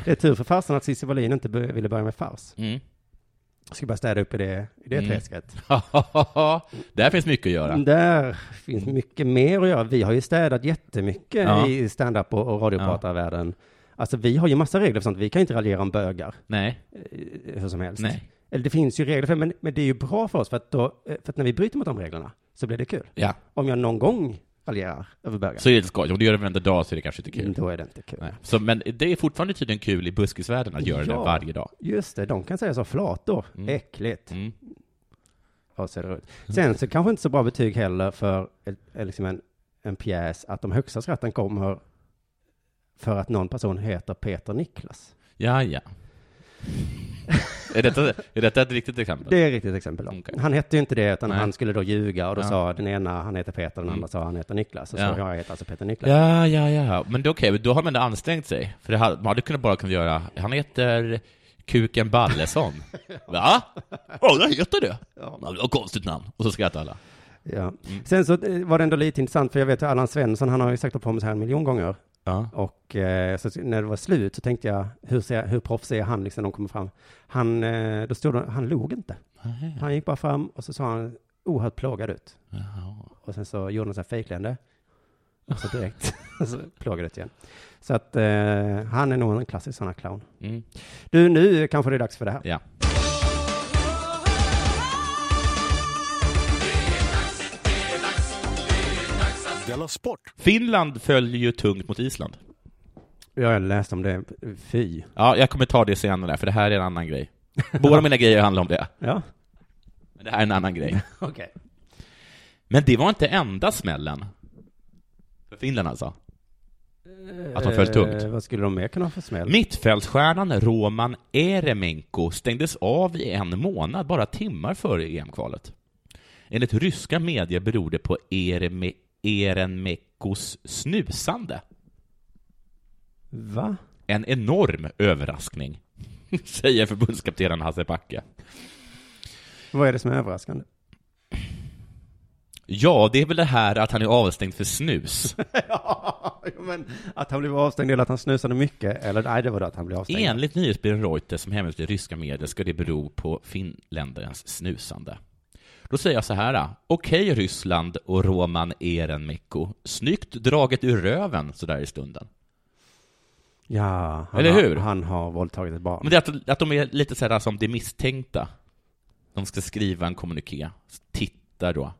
D: Det är tur för farsan att Cissi Wallin inte bör- ville börja med fars.
C: Mm.
D: Jag ska bara städa upp i det, i det
C: Mm.
D: träsket.
C: Där finns mycket att göra.
D: Där finns mycket mer att göra. Vi har ju städat jättemycket
C: Ja.
D: i stand-up och, och radiopratarvärlden. Alltså vi har ju massa regler för sånt. Vi kan ju inte raljera om bögar
C: Nej.
D: eh, hur som helst.
C: Nej.
D: Eller det finns ju regler för det, men, men det är ju bra för oss för att, då, eh, för att när vi bryter mot de reglerna så blir det kul.
C: Ja.
D: Om jag någon gång raljerar över bögar, Mm,
C: Så är det lite skoj. Om du gör det varenda dag så är det kanske inte kul.
D: då är det inte kul.
C: Nej. Så, men det är fortfarande tydligen kul i buskisvärlden att göra
D: Ja.
C: det varje dag.
D: Just det, de kan säga så flator.
C: Mm.
D: Äckligt.
C: Mm.
D: Ja, ser det ut. Sen så kanske inte så bra betyg heller för ett, eh, liksom en, en pjäs att de högsta skratten kommer för att någon person heter Peter Niklas.
C: Ja, ja. är, detta, är detta ett riktigt exempel?
D: Det är ett riktigt exempel. Då.
C: Okej.
D: Han hette ju inte det, utan
C: Nej.
D: han skulle då ljuga och då
C: Ja. Mm.
D: sa den ena han heter Peter, den andra sa han heter Niklas. Och så
C: Ja.
D: jag heter alltså Peter Niklas.
C: Ja, ja, ja. Men det är okej, då har man ändå ansträngt sig. För det hade, man hade kunnat bara kunnat göra, han heter Kuken Ballesson. Va? Ja, det heter det. Ja, det var ett konstigt namn. Och så skrattar alla.
D: Ja.
C: Mm.
D: Sen så eh, var det ändå lite intressant, för jag vet ju Allan Svensson, han har ju sagt upp på sig här en miljon gånger.
C: Ja.
D: Och eh, så när det var slut så tänkte jag, hur, ser, hur proffs är han liksom när de kommer fram? Han, eh, då stod det, han log inte. Han gick bara fram och så sa han oerhört plågad ut. Och sen så gjorde han så här fejkleende. Och så direkt så plågad ut igen. Så att eh, han är nog en klassisk sån här clown.
C: Mm.
D: Du, nu kanske det är dags för det här.
C: Ja.
B: Della Sport!
C: Finland följer ju tungt mot Island.
D: Ja, jag läste om det. Fy.
C: Ja, jag kommer ta det senare, för det här är en annan grej. Båda mina grejer handlar om det.
D: Ja,
C: Men det här är en annan grej.
D: okej.
C: Men det var inte enda smällen. För Finland alltså. Att de föll tungt.
D: Eh, vad skulle de mer kunna ha för smäll?
C: Mittfältstjärnan Roman Eremenko stängdes av i en månad, bara timmar före EM-kvalet. Enligt ryska medier beror det på Ereme, Erenmekos snusande.
D: Va?
C: En enorm överraskning, säger förbundskaptenen Hasse Backe.
D: Vad är det som är överraskande?
C: Ja, det är väl det här att han är avstängd för snus.
D: ja, men att han blev avstängd eller att han snusade mycket, eller nej, det var det att han blev avstängd.
C: Enligt nyhetsbyrån Reuters som hemligt i ryska medier ska det bero på finländarens snusande. Då säger jag så här. Okej Ryssland och Roman Erenmikko. Snyggt draget ur röven sådär i stunden.
D: Ja, han
C: Eller
D: har,
C: hur?
D: han har våldtagit ett barn.
C: Men det är att, att de är lite så här som det misstänkta. De ska skriva en kommuniké. Tittar då.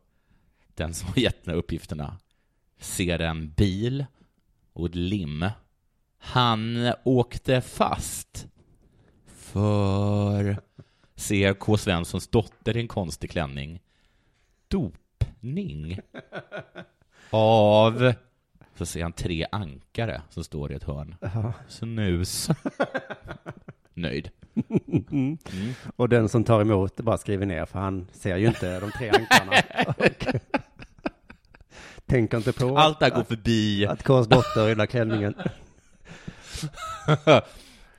C: Den som har gett de här uppgifterna ser en bil och ett lim. Han åkte fast för ser K. Svenssons dotter i en konstig klänning. Dopning av så ser han tre ankare som står i ett hörn. Snus. Nöjd.
D: Och den som tar emot bara skriver ner, för han ser ju inte de tre ankarna. Och Tänker inte på
C: Allt det här går förbi.
D: att Kås dotter rullar klänningen.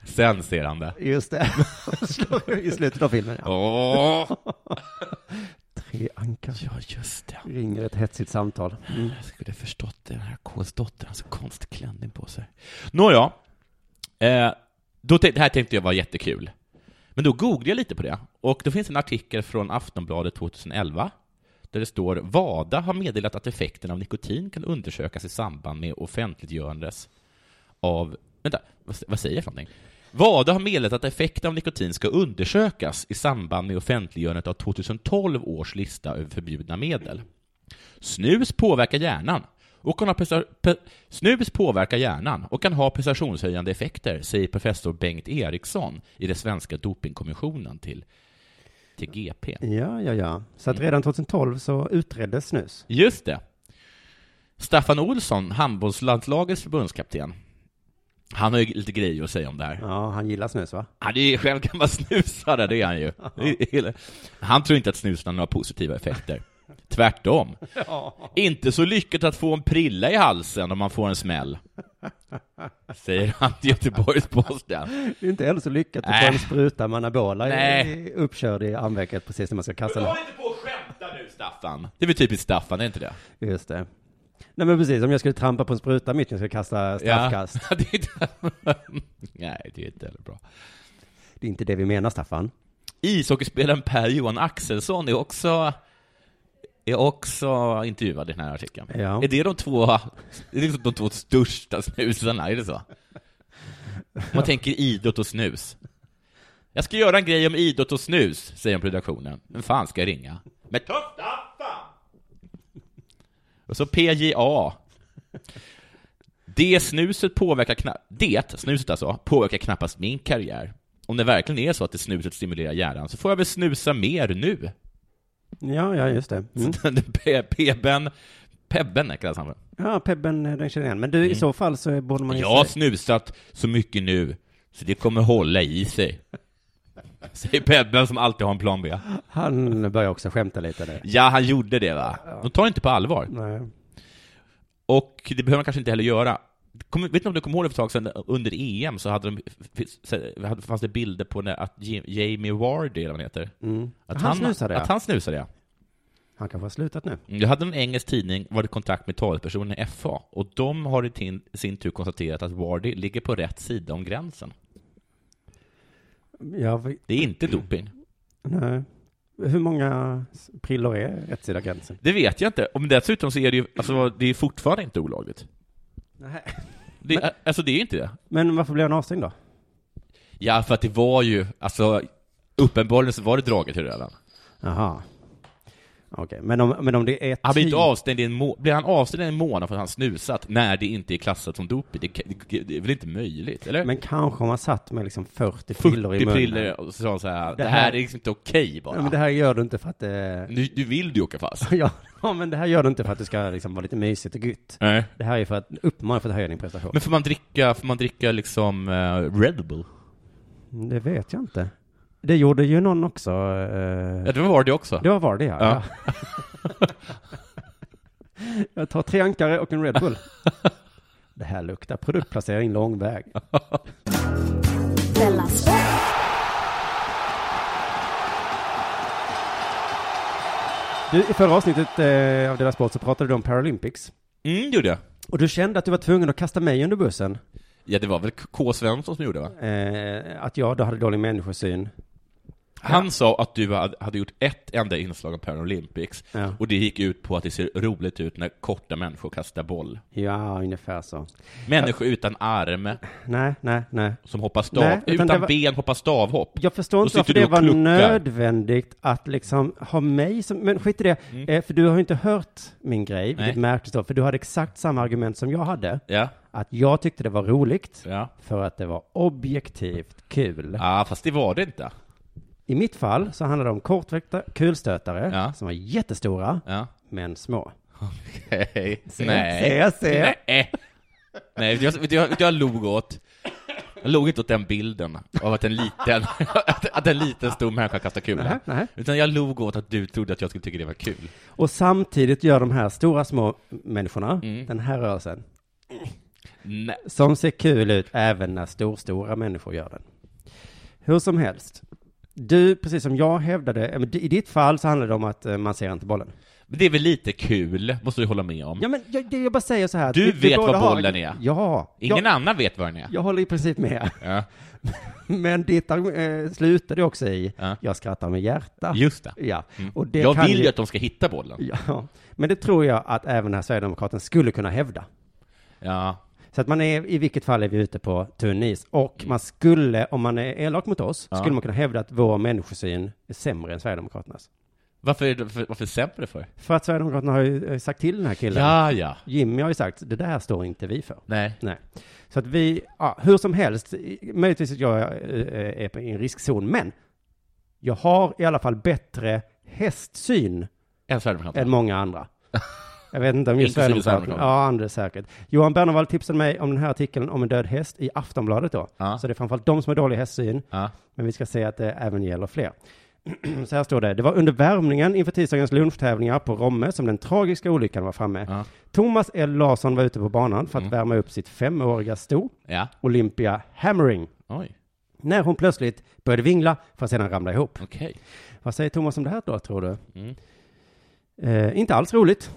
C: Sen ser han det.
D: Just det, Slår i slutet av filmen. Ja.
C: Åh!
D: Tre ankar.
C: Ja, just det.
D: Ringer ett hetsigt samtal. Mm.
C: Jag skulle förstått det. Den här Ks dotter har så konstig klänning på sig. Nåja. Eh, då tänk- det här tänkte jag var jättekul. Men då googlade jag lite på det. Och då finns en artikel från Aftonbladet 2011. Där det står Vada har meddelat att effekten av nikotin kan undersökas i samband med offentliggörandes av... Vänta, vad, vad säger jag för någonting? Vada har meddelat att effekten av nikotin ska undersökas i samband med offentliggörandet av 2012 års lista över förbjudna medel. Snus påverkar hjärnan och kan ha presta- pe- Snus påverkar hjärnan och kan ha prestationshöjande effekter, säger professor Bengt Eriksson i den svenska dopingkommissionen till, till GP.
D: Ja, ja, ja. Så att redan 2012 så utreddes snus.
C: Just det. Staffan Olsson, handbollslandslagets förbundskapten, han har ju lite grejer att säga om det här.
D: Ja, han gillar snus va?
C: Han är ju själv gammal snusare, det är han ju. Han tror inte att snusen har några positiva effekter. Tvärtom. Inte så lyckat att få en prilla i halsen om man får en smäll. Säger han till Göteborgs-Posten.
D: Det är inte heller så lyckat att få
C: Nej.
D: en spruta med anabola i-
C: Nej.
D: uppkörd i armvecket precis när man ska kasta den.
C: inte Alltså, på och skämta nu, Staffan. Det är väl typiskt Staffan, är inte det?
D: Just det. Nej men precis, om jag skulle trampa på en spruta mitt när jag ska kasta straffkast.
C: Ja. det är inte... Nej, det är inte heller bra.
D: Det är inte det vi menar Staffan.
C: Ishockeyspelaren Per-Johan Axelsson är också, är också intervjuad i den här artikeln.
D: Ja.
C: Är det de två, är det liksom de två största snusarna? Är det så? Om man tänker idrott och snus. Jag ska göra en grej om idrott och snus, säger de på redaktionen. Men fan ska jag ringa? Men tufft Och så PJA. Det snuset påverkar knappt, det snuset alltså, påverkar knappast min karriär. Om det verkligen är så att det snuset stimulerar hjärnan så får jag väl snusa mer nu.
D: Ja, ja just det. Mm.
C: Pe- Peben, Pebben kallas han för.
D: Ja, Pebben, eh, den känner jag igen. Men du,
C: Mm.
D: i så fall så borde man ju...
C: Jag har snusat så mycket nu så det kommer hålla i sig. Säger Pebben som alltid har en plan B.
D: Han börjar också skämta lite nu.
C: Ja, han gjorde det va? De tar inte på allvar.
D: Nej.
C: Och det behöver man kanske inte heller göra. Kom, vet ni om du kommer ihåg det för ett tag sedan under EM så hade de, f- f- hade- fanns det bilder på när, att Jim- Jamie Vardy, eller vad han heter, att
D: Han snusade, ja.
C: Att han snusade, ja.
D: Han kanske har slutat nu.
C: Mm. Jag hade en engelsk tidning varit i kontakt med talespersonen i FA och de har i tin- sin tur konstaterat att Vardy ligger på rätt sida om gränsen.
D: Ja, vi-
C: Det är inte
D: Mm.
C: doping.
D: nej. Hur många s- prillor är rätt sida gränsen?
C: Det vet jag inte. Och dessutom så är det ju, alltså, det är fortfarande inte olagligt.
D: Nej.
C: Det, Alltså det är inte det.
D: Men varför blir han avstängd då?
C: Ja, för att det var ju, alltså uppenbarligen så var det draget i röven.
D: Jaha. Okej, men, om, men om det är
C: Han blir
D: typ-
C: inte avstängd i en må- blir han avstängd i en månad för att han snusat när det inte är klassat som doping? Det, kan- det, det är väl inte möjligt, eller?
D: Men kanske om man satt med liksom 40 prillor i
C: 40
D: munnen.
C: prillor och så sa han så här, det,
D: Det
C: här
D: här-
C: är liksom inte okej
D: Ja,
C: bara.
D: men det här gör du inte för att det...
C: nu, nu vill du ju åka fast.
D: Ja, ja, men det här gör du inte för att det ska liksom vara lite mysigt och gött.
C: Nej.
D: Det här är för att uppmana för att höja din prestation.
C: Men får man dricka, får man dricka liksom eh, Red Bull?
D: Mm, Det vet jag inte. Det gjorde ju någon också. eh,
C: Ja, det var det också.
D: Det var var det ja.
C: Ja.
D: Ja. jag tar tre ankare och en Red Bull. det här luktar produktplacering lång väg.
E: Della Sport,
D: Du, I förra avsnittet eh, av Dela Sport så pratade du om Paralympics.
C: Mm, gjorde jag.
D: Och du kände att du var tvungen att kasta mig under bussen.
C: Ja, det var väl K. Svensson som gjorde va?
D: Eh, att jag då hade dålig människosyn.
C: Han sa att du hade hade gjort ett enda inslag om Paralympics,
D: Ja.
C: och det gick ut på att det ser roligt ut när korta människor kastar boll.
D: Ja, ungefär så.
C: Människor utan arm,
D: Nej, nej, nej.
C: som hoppar stav,
D: Nej, utan
C: utan
D: det var-
C: ben hoppar stavhopp.
D: Jag förstår inte
C: sitter
D: varför
C: du
D: det
C: och
D: var
C: kluckar.
D: nödvändigt att liksom ha mig som, men skit i det, eh, för du har ju inte hört min grej, vilket
C: Mm. Nej.
D: märktes då, för du hade exakt samma argument som jag hade,
C: Ja,
D: att jag tyckte det var roligt,
C: ja.
D: för att det var objektivt kul.
C: Ja, fast det var det inte.
D: I mitt fall så handlade det om kortväckta kulstötare,
C: Ja.
D: som var jättestora,
C: Ja.
D: men små.
C: Hej.
D: Se,
C: Nej.
D: se, se.
C: Nej. Nej, vet du, vad- vet du, vad- vet du, vad jag log åt. Jag log inte åt den bilden av att en liten, att, att en liten stor människa kastar
D: Nähä,
C: kula.
D: nähä.
C: Utan jag log åt att du trodde att jag skulle tycka det var kul.
D: Och samtidigt gör de här stora små människorna, den här rörelsen,
C: Mm. Nej.
D: som ser kul ut även när storstora människor gör den. Hur som helst, du, precis som jag hävdade, eh, men i ditt fall så handlar det om att eh, man ser inte
C: Mm.
D: bollen.
C: Men det är väl lite kul, måste du hålla med om.
D: Ja, men jag, det- jag bara säger så här. att
C: Du
D: vi- vi
C: vet
D: båda
C: vad
D: har-
C: bollen är.
D: Ja.
C: Ingen
D: jag,
C: annan vet vad den är.
D: jag håller i princip med.
C: Ja.
D: Men ditt eh, slutade också i,
C: Ja.
D: jag skrattar med hjärta.
C: Just det.
D: Ja.
C: Mm.
D: Och det
C: jag
D: kan
C: vill ju
D: ju...
C: att de ska hitta bollen.
D: Ja. Men det tror jag att även den här Sverigedemokraten skulle kunna hävda.
C: Ja.
D: Så att man är, i vilket fall är vi ute på tunn is. Och man skulle, om man är elak mot oss,
C: Mm. Ja.
D: skulle man kunna hävda att vår människosyn är sämre än Sverigedemokraternas.
C: Varför, är det- varför, varför sämre för?
D: För att Sverigedemokraterna har ju eh, sagt till den här killen.
C: Ja, ja.
D: Jimmy har ju sagt, det där står inte vi för.
C: Nej.
D: Nej. Så att vi, ja, hur som helst, i- möjligtvis att jag eh, är på- i en riskzon, men jag har i alla fall bättre hästsyn
C: En
D: än
C: sverigedemokrat.
D: många andra. Jag vet inte om just
C: Inklusive
D: Sverigedemokraterna.
C: Sverigedemokraterna.
D: Ja, Anders säkert. Johan Bernervall tipsade mig om den här artikeln om en död häst i Aftonbladet då.
C: Ja.
D: Så det är framförallt de som har dålig hästsyn,
C: Ja.
D: men vi ska se att det även gäller fler. Så här står det. Det var under värmningen inför tisdagens lunchtävlingar på Romme som den tragiska olyckan var framme.
C: Ja. Mm.
D: Thomas L. Larsson var ute på banan för att värma upp sitt femåriga sto,
C: ja.
D: Olympia Hammering,
C: Oj.
D: när hon plötsligt började vingla för att sedan ramla ihop.
C: Okej.
D: Vad säger Thomas om det här då, tror du?
C: Mm.
D: Eh, inte alls roligt.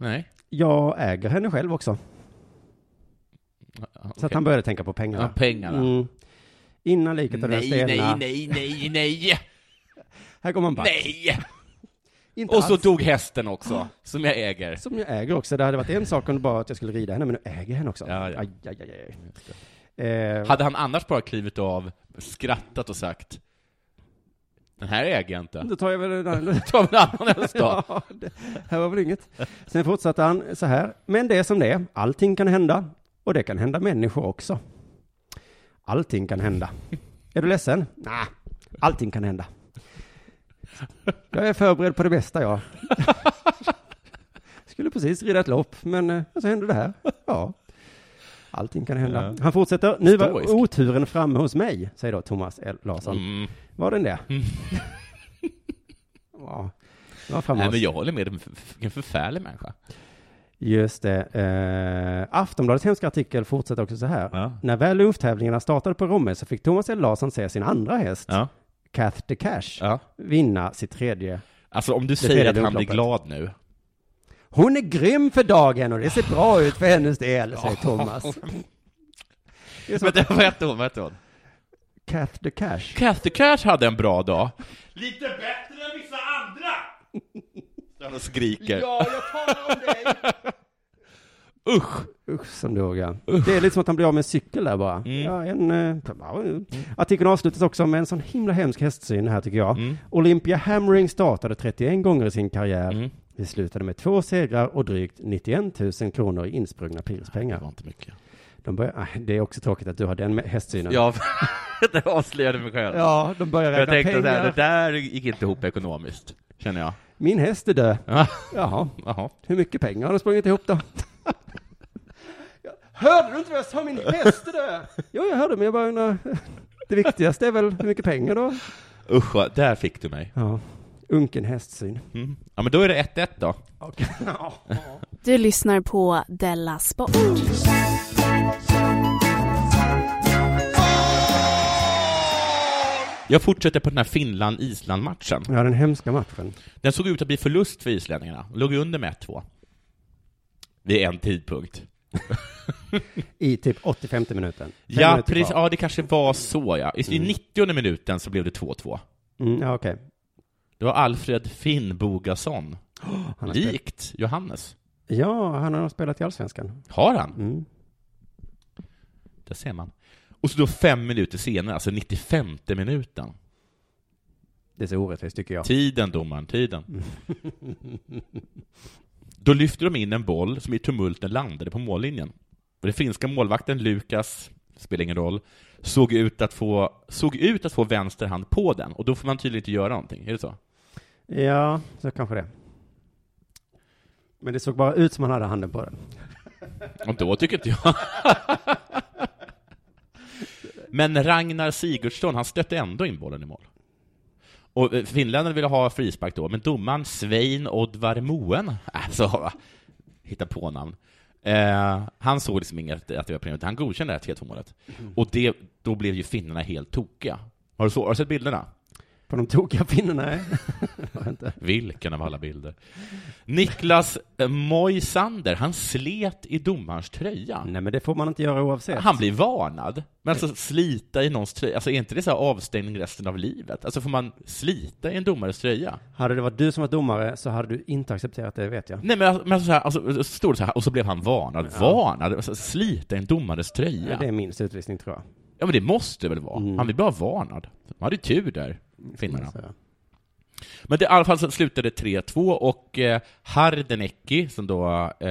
C: Nej.
D: Jag äger henne själv också.
C: Ja,
D: Så att
C: okej.
D: han började tänka på pengarna.
C: Ja, pengarna.
D: Mm. Innan liket av den
C: Nej, nej,
D: stelna.
C: nej, nej, nej,
D: Här går man back.
C: nej!
D: Inte
C: Och så
D: alls.
C: dog hästen också, som jag äger.
D: Som jag äger också. Det hade varit en sak om det bara att jag skulle rida henne, men nu äger jag henne också.
C: Ja, ja.
D: Aj, aj, aj, aj. Eh,
C: Hade han annars bara klivit av, skrattat och sagt Den här äger jag inte.
D: Då tar jag väl den andra.
C: Ta en annan häst då.
D: Ja, det här var väl inget. Sen fortsatte han så här. Men det är som det är. Allting kan hända. Och det kan hända människor också. Allting kan hända. Är du ledsen? Nej, allting kan hända. Jag är förberedd på det bästa, jag. Skulle precis rida ett lopp, men eh, så hände det här. Ja. Allting kan hända. Han fortsätter. Nu var
C: Stoisk.
D: oturen framme hos mig, säger då Thomas L. Larsson.
C: Mm.
D: Var den det? ja. Det var framme
C: Nej,
D: hos-
C: men jag håller med, vilken f- vilken förfärlig människa.
D: Just det. Eh, Aftonbladets hemska artikel fortsätter också så här.
C: Ja.
D: När väl lunchtävlingarna startade på Romme så fick Thomas L. Larsson se sin andra häst,
C: Ja.
D: Cath the Cash, vinna sitt tredje.
C: Alltså om du
D: tredje
C: säger att han blir glad
D: upploppet.
C: nu.
D: Hon är grym för dagen och det ser bra ut för hennes del, säger Thomas. Det är som
C: Men det, vad hette hon? Vad hette hon?
D: Cath the Cash.
C: Kathy Cash hade en bra dag.
A: Lite bättre än vissa andra!
C: Han skriker.
D: jag talar om dig!
C: Usch!
D: Usch som dog ja. Det är lite som att han blir av med en cykel där bara.
C: Mm.
D: Ja, en, eh, ja, eh. Artikeln avslutas också med en sån himla hemsk hästsyn här tycker jag.
C: Mm.
D: Olympia Hammering startade 31 gånger i sin karriär.
C: Mm.
D: Vi slutade med två segrar och drygt 91 000 kronor i insprungna
C: Det
D: pirspengar.
C: var inte mycket.
D: De börjar, ah, det är också tråkigt att du har den med hästsynen.
C: Jag det avslöjade mig själv.
D: Ja, de börjar
C: jag
D: räkna
C: tänkte
D: pengar.
C: så här, det där gick inte ihop ekonomiskt, känner jag.
D: Min häst är död.
C: Ja,
D: Jaha,
C: Jaha.
D: hur mycket pengar har de sprungit ihop då? Jag- hörde du inte vad jag sa? Min häst är död! Jo, jag hörde, men jag bara undrar. Det viktigaste är väl hur mycket pengar då?
C: Usch, vad- där fick du mig.
D: Ja, unken hästsyn.
C: Mm. Ja, men då är det 1-1 då.
E: Du lyssnar på Della Sport.
C: Jag fortsätter på den här Finland-Island-matchen.
D: Ja, den hemska matchen.
C: Den såg ut att bli förlust för islänningarna. Låg under med 1-2. Vid en tidpunkt.
D: I typ 85 minuten. Fem
C: Ja,
D: minuter
C: precis.
D: kvar.
C: Mm. Ja, det kanske var så, ja. I 90 minuten så blev det 2-2.
D: Mm, ja, okej.
C: Det var Alfred Finnbogason.
D: Han har spelat-
C: Likt Johannes.
D: Ja, han har nog spelat i Allsvenskan.
C: Har han?
D: Mm.
C: Där ser man. Och så då fem minuter senare, alltså 95 minuten.
D: Det är så orättvist tycker jag.
C: Tiden, domaren, tiden. Då lyfter de in en boll som i tumulten landade på mållinjen. Och den finska målvakten Lukas, spelar ingen roll, såg ut att få, såg ut att få vänster hand på den. Och då får man tydligen inte göra någonting, är det så?
D: Ja, så kanske det. Men det såg bara ut som han hade handen på den.
C: Och då tycker inte jag... Men Ragnar Sigurdsson, han stötte ändå in bollen i mål. Och eh, finländarna ville ha frispark då, men domaren Svein Oddvar Moen, alltså, va? hitta på namn, eh, han såg liksom inget att det var problem, utan han godkände det här 3-2 målet. Och det, då blev ju finnarna helt tokiga. Har du, så, har du sett bilderna?
D: På de tokiga pinnarna? Nej. Det har jag inte.
C: Vilken av alla bilder? Niklas eh, Moisander, han slet i domarens tröja.
D: Nej, men det får man inte göra oavsett.
C: Han blir varnad. Men alltså slita i någons tröja, alltså är inte det så här avstängning resten av livet? Alltså får man slita i en domares tröja?
D: Hade det varit du som var domare så hade du inte accepterat det, vet jag.
C: Nej men, alltså- men alltså, så här, alltså, så stod det så här, och så blev han varnad. Varnad? Alltså, slita i en domares tröja?
D: Det är minst utvisning, tror jag.
C: Ja men det måste det väl vara? Han blir bara varnad. De hade ju tur där, finnarna.
D: Så, ja.
C: Men det, i alla fall så slutade det 3-2 och eh, Hardenecki, som då eh,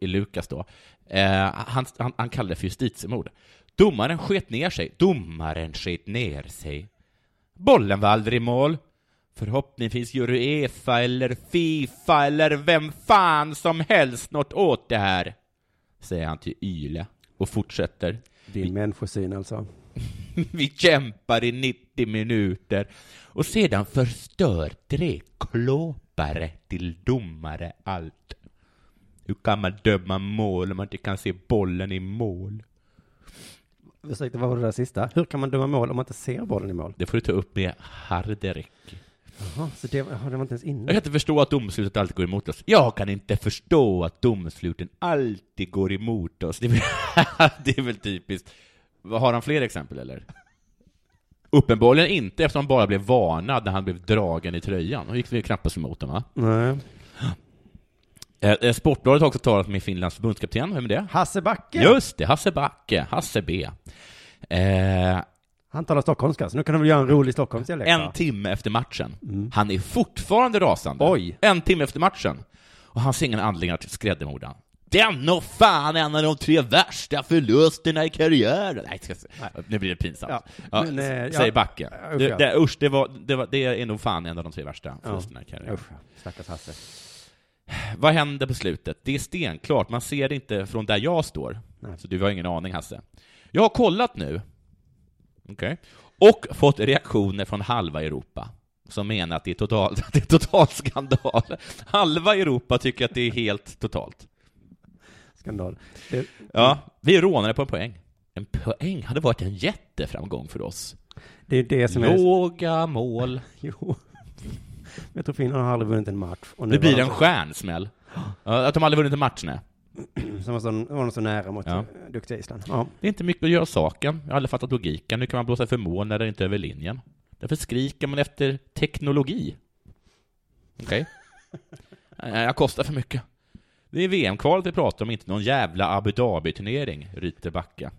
C: är Lukas då, eh, han, han, han kallade det för justitiemord. Domaren sket ner sig. Domaren sket ner sig. Bollen var aldrig i mål. Förhoppningen finns ju Uefa eller Fifa eller vem fan som helst något åt det här, säger han till Yle och fortsätter.
D: Din människosyn alltså.
C: Vi kämpar i 90 minuter och sedan förstör tre klåpare till domare allt. Hur kan man döma mål om man inte kan se bollen i mål?
D: Ursäkta, vad var det där sista? Hur kan man döma mål om man inte ser bollen i mål?
C: Det får du ta upp med Harderek.
D: Jaha, så det, jaha, det var inte ens
C: Jag kan
D: inne.
C: inte förstå att domslutet alltid går emot oss. Jag kan inte förstå att domsluten alltid går emot oss. Det är väl, det är väl typiskt. Vad, Har han fler exempel eller? Uppenbarligen inte, eftersom han bara blev varnad när han blev dragen i tröjan. Då gick det ju knappast emot dem, va?
D: Nej.
C: Eh, eh, Sportbladet har också talat med Finlands förbundskapten. Vem är det?
D: Hasse Backe!
C: Just det, Hasse Backe. Hasse B. Eh,
D: Han talar stockholmska, så nu kan du väl göra en rolig stockholmsdialekt?
C: en
D: va?
C: timme efter matchen. Han är fortfarande rasande.
D: Mm. Oj.
C: En timme efter matchen. Och han ser ingen anledning att skräddemorda. Den och fan en av de tre värsta förlusterna i karriären! Nej, ska, nu blir det pinsamt.
D: Ja,
C: Ja,
D: men,
C: s-
D: eh,
C: säger
D: ja.
C: Backe.
D: Ja, usch,
C: Det,
D: ja.
C: det, usch, det, var, det, var, det är nog fan en av de tre värsta förlusterna i karriären.
D: Usch, stackars Hasse.
C: Vad händer på slutet? Det är stenklart, man ser det inte från där jag står. Så du har ingen aning, Hasse. Jag har kollat nu. Okej. Och fått reaktioner från halva Europa, som menar att det är total, att det är total skandal. Halva Europa tycker att det är helt totalt.
D: Skandal. Det,
C: Ja, vi rånade på en poäng. En poäng hade varit en jätteframgång för oss.
D: det är det som är...
C: Låga mål.
D: Jo. Jag tror Finland har aldrig vunnit en match. Och
C: Nu blir
D: var
C: det
D: de
C: en stjärnsmäll. Ja, Att de aldrig vunnit en match, nej.
D: Som var så, var de så nära mot
C: Ja.
D: ja. duktiga Island. Ja.
C: Det är inte mycket att göra saken. Jag har aldrig fattat logiken. Nu kan man blåsa för mål när den inte är över linjen. Därför skriker man efter teknologi. Okej? Nej, Jag kostar för mycket. Det är VM-kvalet vi pratar om, inte någon jävla Abu Dhabi-turnering, ryter Backa.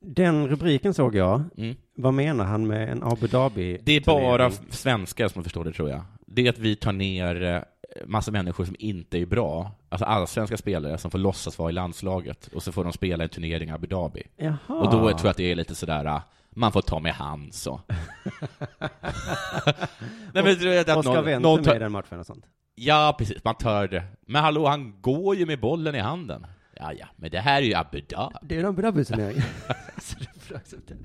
D: Den rubriken såg jag.
C: Mm.
D: Vad menar han med en Abu Dhabi?
C: Det är bara
D: turnering?
C: f- svenskar som förstår det, tror jag. Det är att vi tar ner eh, massa människor som inte är bra, alltså allsvenska spelare som får låtsas vara i landslaget, och så får de spela i en turnering i Abu Dhabi.
D: Jaha.
C: Och då tror jag att det är lite sådär, ah, man får ta med hand så. Nej, men, du vet att
D: Oscar
C: någon,
D: Wendt
C: någon
D: är
C: tar-
D: med i den matchen och sånt.
C: Ja, precis, man tar det. Men hallå, han går ju med bollen i handen. Ja, ja, men det här är ju Abu Dhabi.
D: Det är en Abu Dhabi-turnering. Så det får du acceptera.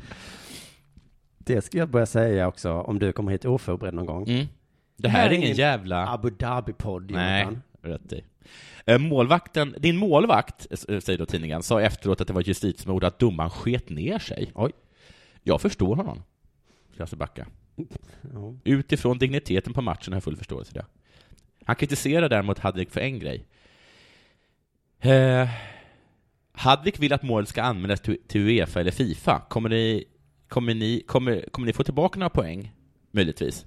D: det ska jag börja säga också om du kommer hit oförberedd någon gång.
C: Mm. Det här är ingen jävla...
D: Abu Dhabi-podd,
C: Nej,
D: Jonathan.
C: rätt i. Eh, Målvakten, din målvakt, eh, säger då tidningen, sa efteråt att det var ett justitiemord att domaren sket ner sig.
D: Oj.
C: Jag förstår honom. Lasse Backa.
D: Ja.
C: Utifrån digniteten på matchen har jag full förståelse för det. Han kritiserar däremot Hadlik för en grej. Eh, Hadlik vill att målet ska användas till till Uefa eller Fifa. Kommer ni, kommer ni, kommer, kommer ni få tillbaka några poäng? möjligtvis.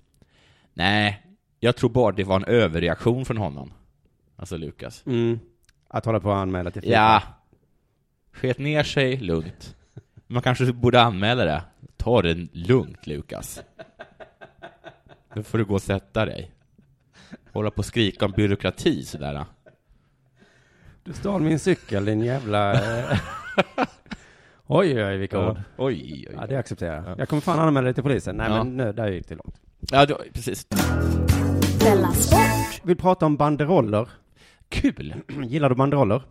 C: Nej, jag tror bara det var en överreaktion från honom. Alltså Lukas.
D: Mm. Att hålla på och anmäla till
C: Ja. Sket ner sig lugnt. Man kanske borde anmäla det. Ta det lugnt, Lukas. Nu får du gå och sätta dig. Hålla på och skrika om byråkrati sådär.
D: Du stal min cykel, din jävla... eh. oj, oj, vilka ord.
C: Oj, oj,
D: Ja,
C: oj.
D: det accepterar jag. Jag kommer fan anmäla dig till polisen. Nej,
C: Ja.
D: men nu, där gick det långt.
C: Ja, det, precis.
E: Della Sport.
D: Vill prata om banderoller.
C: Kul!
D: Gillar du banderoller?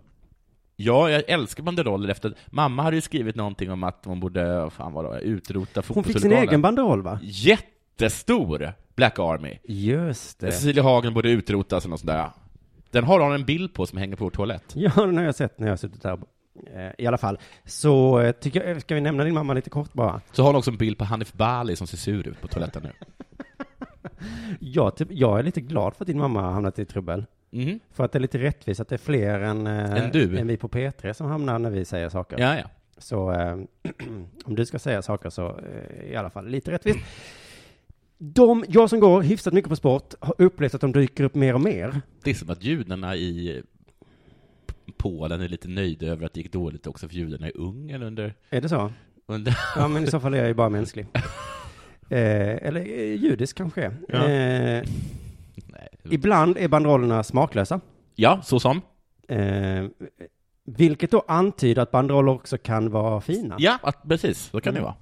C: Ja, jag älskar banderoller efter att mamma hade ju skrivit någonting om att hon borde, vad fan vad det var, utrota
D: Hon fick sin egen banderoll, va?
C: Jättestor Black Army.
D: Just det.
C: Cecilia Hagen borde utrotas eller något sånt där. Den har hon en bild på som hänger på vår toalett.
D: Ja, den har jag sett när jag har suttit där. Eh, I alla fall, så eh, tycker jag, ska vi nämna din mamma lite kort bara?
C: Så har hon också en bild på Hanif Bali som ser sur ut på toaletten nu.
D: Jag, typ, jag är lite glad för att din mamma har hamnat i trubbel.
C: Mhm.
D: För att det är lite rättvist att det är fler än, eh,
C: Än du.
D: än vi på P3 som hamnar när vi säger saker.
C: Ja, ja.
D: Så eh, om du ska säga saker så eh, i alla fall lite rättvist. De, jag som går hyfsat mycket på sport har upplevt att de dyker upp mer och mer.
C: Det är som att judarna i Polen är lite nöjda över att det gick dåligt också för judarna i Ungern under...
D: Är det så?
C: under
D: Ja, men i så fall är jag ju bara mänsklig. Eh, eller eh, judisk kanske.
C: Ja.
D: Eh,
C: nej.
D: ibland är banderollerna smaklösa.
C: Ja, så som.
D: Eh, vilket då antyder att banderoller också kan vara fina.
C: Ja, att, precis. Så kan det vara.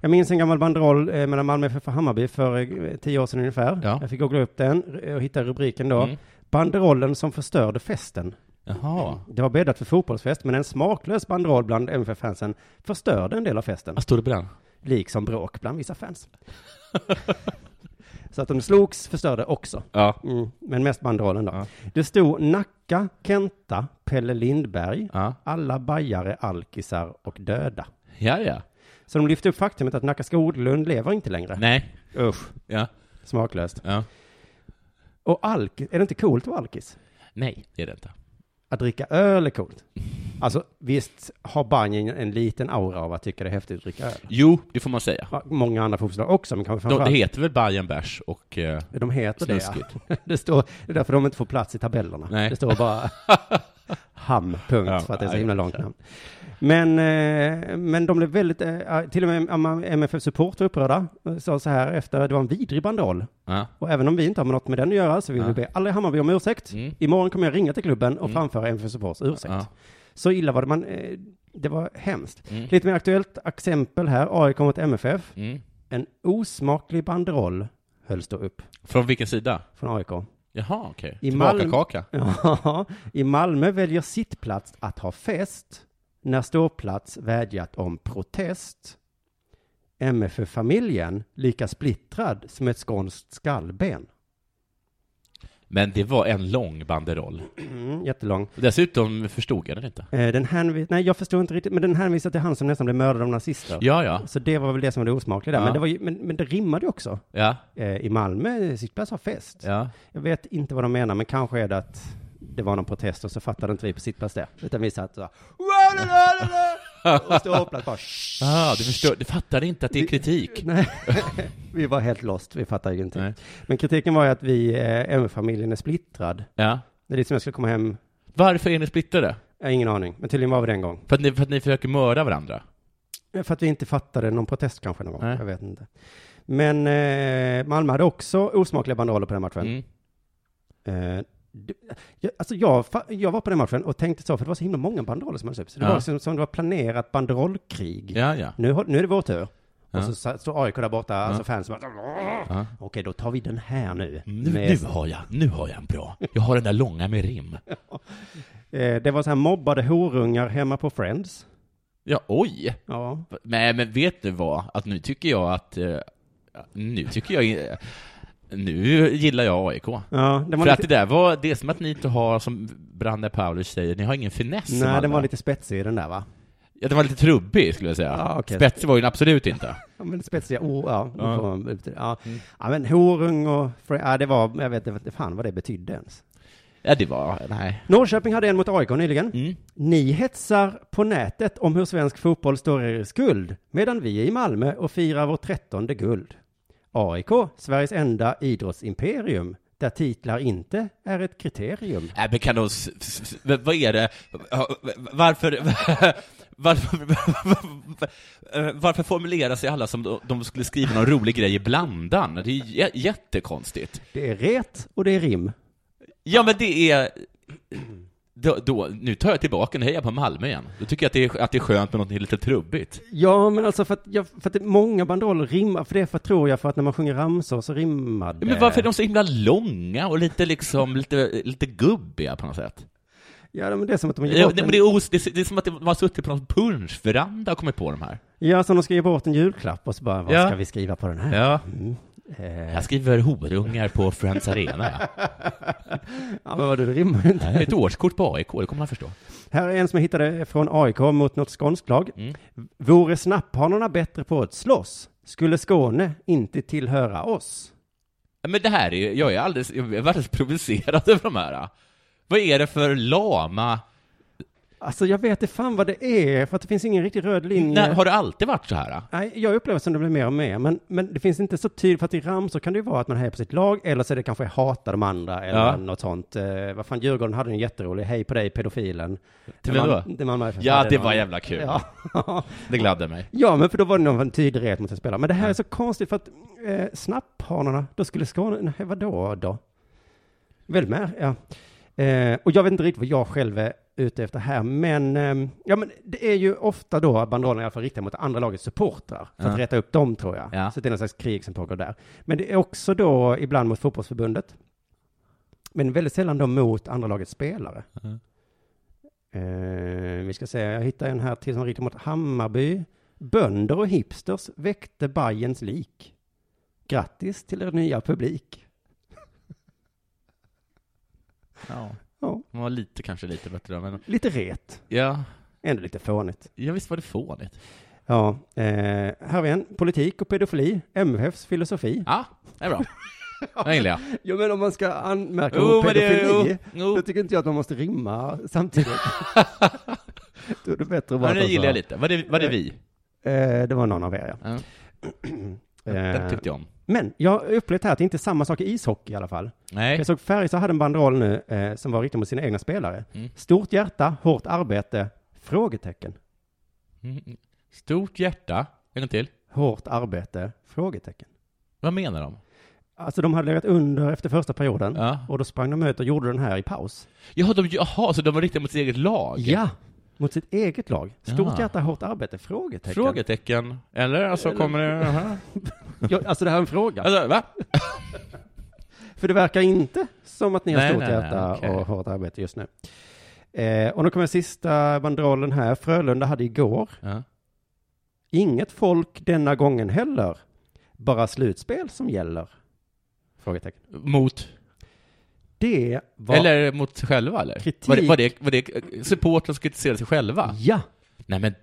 D: Jag minns en gammal banderoll eh, mellan Malmö FF och Hammarby för eh, tio år sedan ungefär.
C: Ja.
D: Jag fick googla upp den eh, och hitta rubriken då.
C: Mm.
D: Banderollen som förstörde festen.
C: Jaha.
D: Det var bäddat för fotbollsfest, men en smaklös banderoll bland MFF-fansen förstörde en del av festen,
C: Vad stod det på den?
D: liksom bråk bland vissa fans. Så att de slogs förstörde också.
C: Ja.
D: Mm, men mest banderollen då.
C: Ja.
D: Det stod Nacka, Kenta, Pelle Lindberg,
C: Ja,
D: alla bajare, alkisar och döda.
C: ja. ja.
D: Så de lyfte upp faktumet att Nacka Skoglund lever inte längre.
C: Nej.
D: Usch,
C: Ja.
D: smaklöst.
C: ja.
D: Och alk, är det inte coolt att vara alkis?
C: Nej, det är det inte.
D: Att dricka öl är coolt. Alltså visst har Bajen en liten aura av att tycka det är häftigt att dricka öl.
C: Jo, det får man säga.
D: Ja, Många andra fotbollslag också, men
C: De,
D: kanske
C: det
D: framförallt.
C: heter väl Bayern Bärs och... Eh,
D: De heter det,
C: Snuskigt.
D: ja. det, står, det är därför de inte får plats i tabellerna.
C: Nej.
D: Det står bara ham, punkt,
C: Ja,
D: för att det är så
C: nej.
D: himla långt namn. Men, eh, men de blev väldigt, eh, till och med MFF-support var upprörda, eh, sa så här efter, det var en vidrig banderoll.
C: ja.
D: Och även om vi inte har något med den att göra så vill vi
C: Ja.
D: be alla i Hammarby om ursäkt.
C: Mm.
D: Imorgon kommer jag ringa till klubben och
C: Mm.
D: framföra MFF Supports ursäkt.
C: Ja.
D: Så illa var det, man, eh, det var hemskt.
C: Mm.
D: Lite mer aktuellt exempel här, AIK mot MFF.
C: Mm.
D: En osmaklig banderoll hölls då upp
C: Från vilken sida?
D: från AIK.
C: Jaha, okej.
D: I
C: Tillbaka
D: Malm-
C: kaka.
D: Ja, I Malmö väljer sittplats att ha fest när ståplats vädjat om protest. MFF-familjen lika splittrad som ett skånskt skallben.
C: Men det var en lång banderoll.
D: Mm, jättelång.
C: Dessutom förstod jag den inte.
D: Eh, Den hänvis- Nej, jag förstod inte riktigt, men den hänvisar till han som nästan blev mördad av nazister.
C: Ja, ja.
D: Så det var väl det som var det osmakliga där.
C: Ja.
D: Men, det var ju, men, men det rimmade ju också.
C: Ja,
D: Eh, I Malmö, sittplats har fest.
C: ja.
D: Jag vet inte vad de menar, men kanske är det att det var någon protest och så fattade inte vi på sittplats det. Utan vi satt så här, och ståplats bara "Shh."
C: Ah, du förstår, du fattar inte att det är kritik.
D: Nej, vi var helt lost, vi fattade ju inte.
C: Nej.
D: Men kritiken var ju att vi, eh, MF-familjen är splittrad.
C: Ja.
D: Det är lite som jag skulle komma hem,
C: Varför är ni splittrade?
D: jag har ingen aning, men tydligen var vi det en gång.
C: För att ni, för att ni försöker mörda varandra?
D: Ja, För att vi inte fattade någon protest kanske någon gång.
C: Nej.
D: Jag vet inte. Men eh, Malmö hade också osmakliga banderoller på den matchen.
C: Mm.
D: Eh, det- jag, alltså jag, fa- jag var på den matchen och tänkte så, för det var så himla många banderoller som hade upp. Så det
C: Ja.
D: var som, som det var planerat banderollkrig.
C: Ja, ja.
D: Nu, har- nu är det vår tur.
C: Ja.
D: Och så sa- står AIK där borta, alltså fans bara,
C: Ja.
D: okej då tar vi den här nu.
C: Nu,
D: Med-
C: nu har jag, nu har jag en bra. Jag har den där långa med rim.
D: Eh, det var så här mobbade horungar hemma på Friends.
C: Ja, oj.
D: Ja.
C: Nej, men vet du vad? Att nu tycker jag att... Eh, nu tycker jag... eh, Nu gillar jag AIK.
D: Ja, den
C: För
D: var
C: att
D: lite,
C: det där var, det är som att ni inte har, som Branne Paulus säger, ni har ingen finess. som
D: nej,
C: alla.
D: den var lite spetsig den där va?
C: ja, den var lite trubbig skulle jag säga.
D: Ja, okej.
C: Spetsig var ju den absolut inte.
D: Ja, men spetsiga ord, ja. nu
C: Ja. Mm.
D: får man ut det. Ja. ja, men horung och... fr- Ja, det var... Jag vet inte fan vad det betydde ens.
C: Ja, det var, nej.
D: Norrköping hade en mot AIK nyligen.
C: Mm.
D: Ni hetsar på nätet om hur svensk fotboll står er i skuld, medan vi är i Malmö och firar vår trettonde guld. AIK, Sveriges enda idrottsimperium, där titlar inte är ett kriterium.
C: Nej, Äh, men kan de... s- s- s- v- Vad är det? Varför... Varför, eh, varför formulerar sig alla som de skulle skriva någon rolig grej i blandan? Det är jä- jättekonstigt.
D: Det är ret och det är rim.
C: Ja, men det är... Då, då, nu tar jag tillbaka, nu hejar jag på Malmö igen. Då tycker jag att det är, att det är skönt med något lite trubbigt.
D: Ja, men alltså för att, jag, för att det, många banderoller rimmar, för det är för, tror jag, för att när man sjunger ramsor så rimmar det.
C: Men varför är de så himla långa och lite liksom, lite, lite gubbiga på något sätt?
D: Ja, men det är som att de ger
C: Ja,
D: bort
C: det, men
D: en,
C: det, är os, det, är, det är som att man har suttit på någon punschveranda och kommit på de här.
D: Ja, som de ska ge bort en julklapp och så bara, vad
C: Ja.
D: ska vi skriva på den här?
C: Ja.
D: Eh,
C: Jag skriver horungar på Friends Arena, ja.
D: ja, men vad det rimmar ju inte.
C: Det här är Ett årskort på AIK, det kommer man förstå.
D: Här är en som jag hittade från AIK mot något skånskt lag.
C: Mm.
D: Vore snapphanorna bättre på att slåss? Skulle Skåne inte tillhöra oss?
C: Men det här är ju- jag är alldeles, jag är alldeles provocerad över de här. Vad är det för lama...
D: Alltså, jag vet inte fan vad det är, för att det finns ingen riktig röd linje.
C: När, har det alltid varit så här?
D: Nej, jag upplever som det blir mer och mer, men, men det finns inte så tydligt, för att i ramsor kan det ju vara att man hejar på sitt lag, eller så är det kanske hatar de andra, eller
C: Ja.
D: något sånt. Eh, vad fan, Djurgården hade en jätterolig, hej på dig pedofilen.
C: Till
D: Man-
C: vem då?
D: det man-
C: Ja, det var
D: någon-
C: jävla kul.
D: Ja.
C: Det gladde mig.
D: ja, men för då var det någon tydlig rätt mot en spelare. Men det här är så konstigt, för att eh, snapphanarna, då skulle Skåne, nej vadå då? Väl med, ja. Eh, och jag vet inte riktigt vad jag själv är ute efter här, men, ehm, ja, men det är ju ofta då banderollerna i alla fall riktade mot andra lagets supportrar, för att
C: Ja.
D: rätta upp dem tror jag.
C: Ja.
D: Så det är någon slags krig som pågår där. Men det är också då ibland mot fotbollsförbundet, men väldigt sällan då mot andra lagets spelare.
C: Mhm.
D: Eh, vi ska se, jag hittade en här till som riktar mot Hammarby. Bönder och hipsters väckte Bajens lik. Grattis till er nya publik.
C: Ja.
D: Ja,
C: De var lite, kanske lite bättre, men
D: lite ret.
C: ja,
D: Ändå lite fånigt.
C: jag visst var det fånigt.
D: Ja, eh, här har vi en. Politik och pedofili, MFFs filosofi.
C: Ja, det är bra. Det gillar jag.
D: Ja, men om man ska anmärka
C: Jo,
D: på
C: men det-
D: pedofili,
C: jo, jo.
D: då tycker inte jag att man måste rimma samtidigt. då är det bättre att bara
C: Men det
D: ta så
C: gillar jag
D: här.
C: lite. Var alltså det, var det vi?
D: Eh, det var någon av er,
C: Ja.
D: ja.
C: Den
D: Eh,
C: tyckte jag om.
D: men jag har upplevt här att det inte är samma sak i ishockey i alla fall.
C: Nej.
D: Jag såg Färjestad hade en banderoll nu eh, som var riktad mot sina egna spelare.
C: Mm.
D: Stort hjärta, hårt arbete, frågetecken.
C: Mm. Stort hjärta. En gång till.
D: Hårt arbete, frågetecken.
C: Vad menar de?
D: Alltså de hade legat under efter första perioden.
C: Ja.
D: Och då sprang de ut och gjorde den här i paus.
C: Jaha, de, jaha, så de var riktade mot sitt eget lag?
D: Ja, mot sitt eget lag. Stort
C: Ja.
D: hjärta, hårt arbete? Frågetecken.
C: Frågetecken. Eller? Alltså, kommer det... Aha.
D: Ja, alltså det här är en fråga.
C: Alltså, va?
D: För det verkar inte som att ni har
C: Nej,
D: stort
C: nej, nej,
D: hjärta
C: okej.
D: och hårt arbete just nu. Eh, och nu kommer sista banderollen här. Frölunda hade igår,
C: Ja.
D: inget folk denna gången heller. Bara slutspel som gäller. Frågetecken.
C: Mot?
D: Det var...
C: Eller mot sig själva, eller?
D: Kritik. Mm.
C: Var det, var det, var det supportrar som kritiserade sig själva?
D: Ja.
C: Nej, men...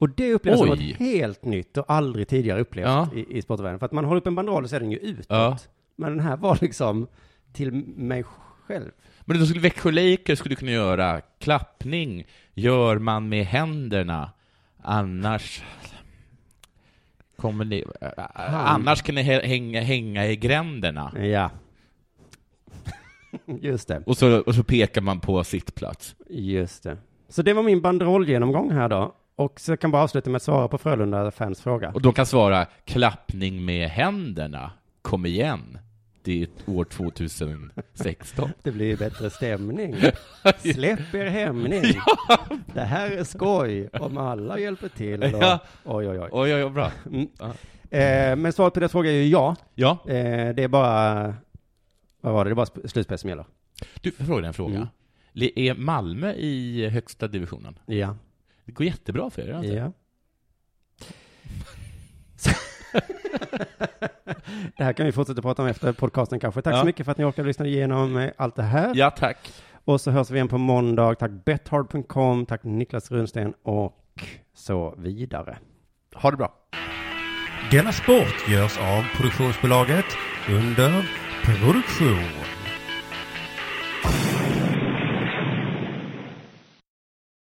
D: Och det upplevs som något
C: Oj.
D: helt nytt och aldrig tidigare upplevt
C: Ja.
D: i, i sportvärlden. För att man håller upp en banderoll och ser den ju utåt.
C: Ja.
D: Men den här var liksom till mig själv.
C: Men då skulle Växjö Lakers skulle kunna göra klappning, gör man med händerna, annars kommer ni, äh, annars kan ni hä- hänga, hänga i gränderna.
D: Ja. Just det,
C: Och så, och så pekar man på sittplats.
D: just det. Så det var min banderollgenomgång här då. Och så kan jag bara avsluta med att svara på Frölunda-fans fråga.
C: Och de kan svara klappning med händerna, kom igen. Det är år 2016.
D: Det blir bättre stämning. Släpp er hämning. Det här är skoj om alla hjälper till. Och,
C: Ja.
D: Oj, oj, oj.
C: Oj, oj, oj, bra.
D: Mm.
C: Ja.
D: Eh, men svaret på deras fråga är ju ja.
C: Ja,
D: Eh, det är bara, vad var det, det är bara sp- slutspel som gäller.
C: du, får jag fråga dig en fråga.
D: Mm.
C: Le- Är Malmö i högsta divisionen?
D: Ja.
C: Det går jättebra för er, alltså. eller?
D: ja. det här kan vi fortsätta prata om efter podcasten kanske. Tack
C: Ja.
D: så mycket för att ni orkade lyssna igenom eh, allt det här.
C: Ja, tack.
D: Och så hörs vi igen på måndag. Tack bethard.com, tack Niklas Runsten och så vidare.
C: Ha det bra.
F: Denna sport görs av produktionsbolaget under produktion.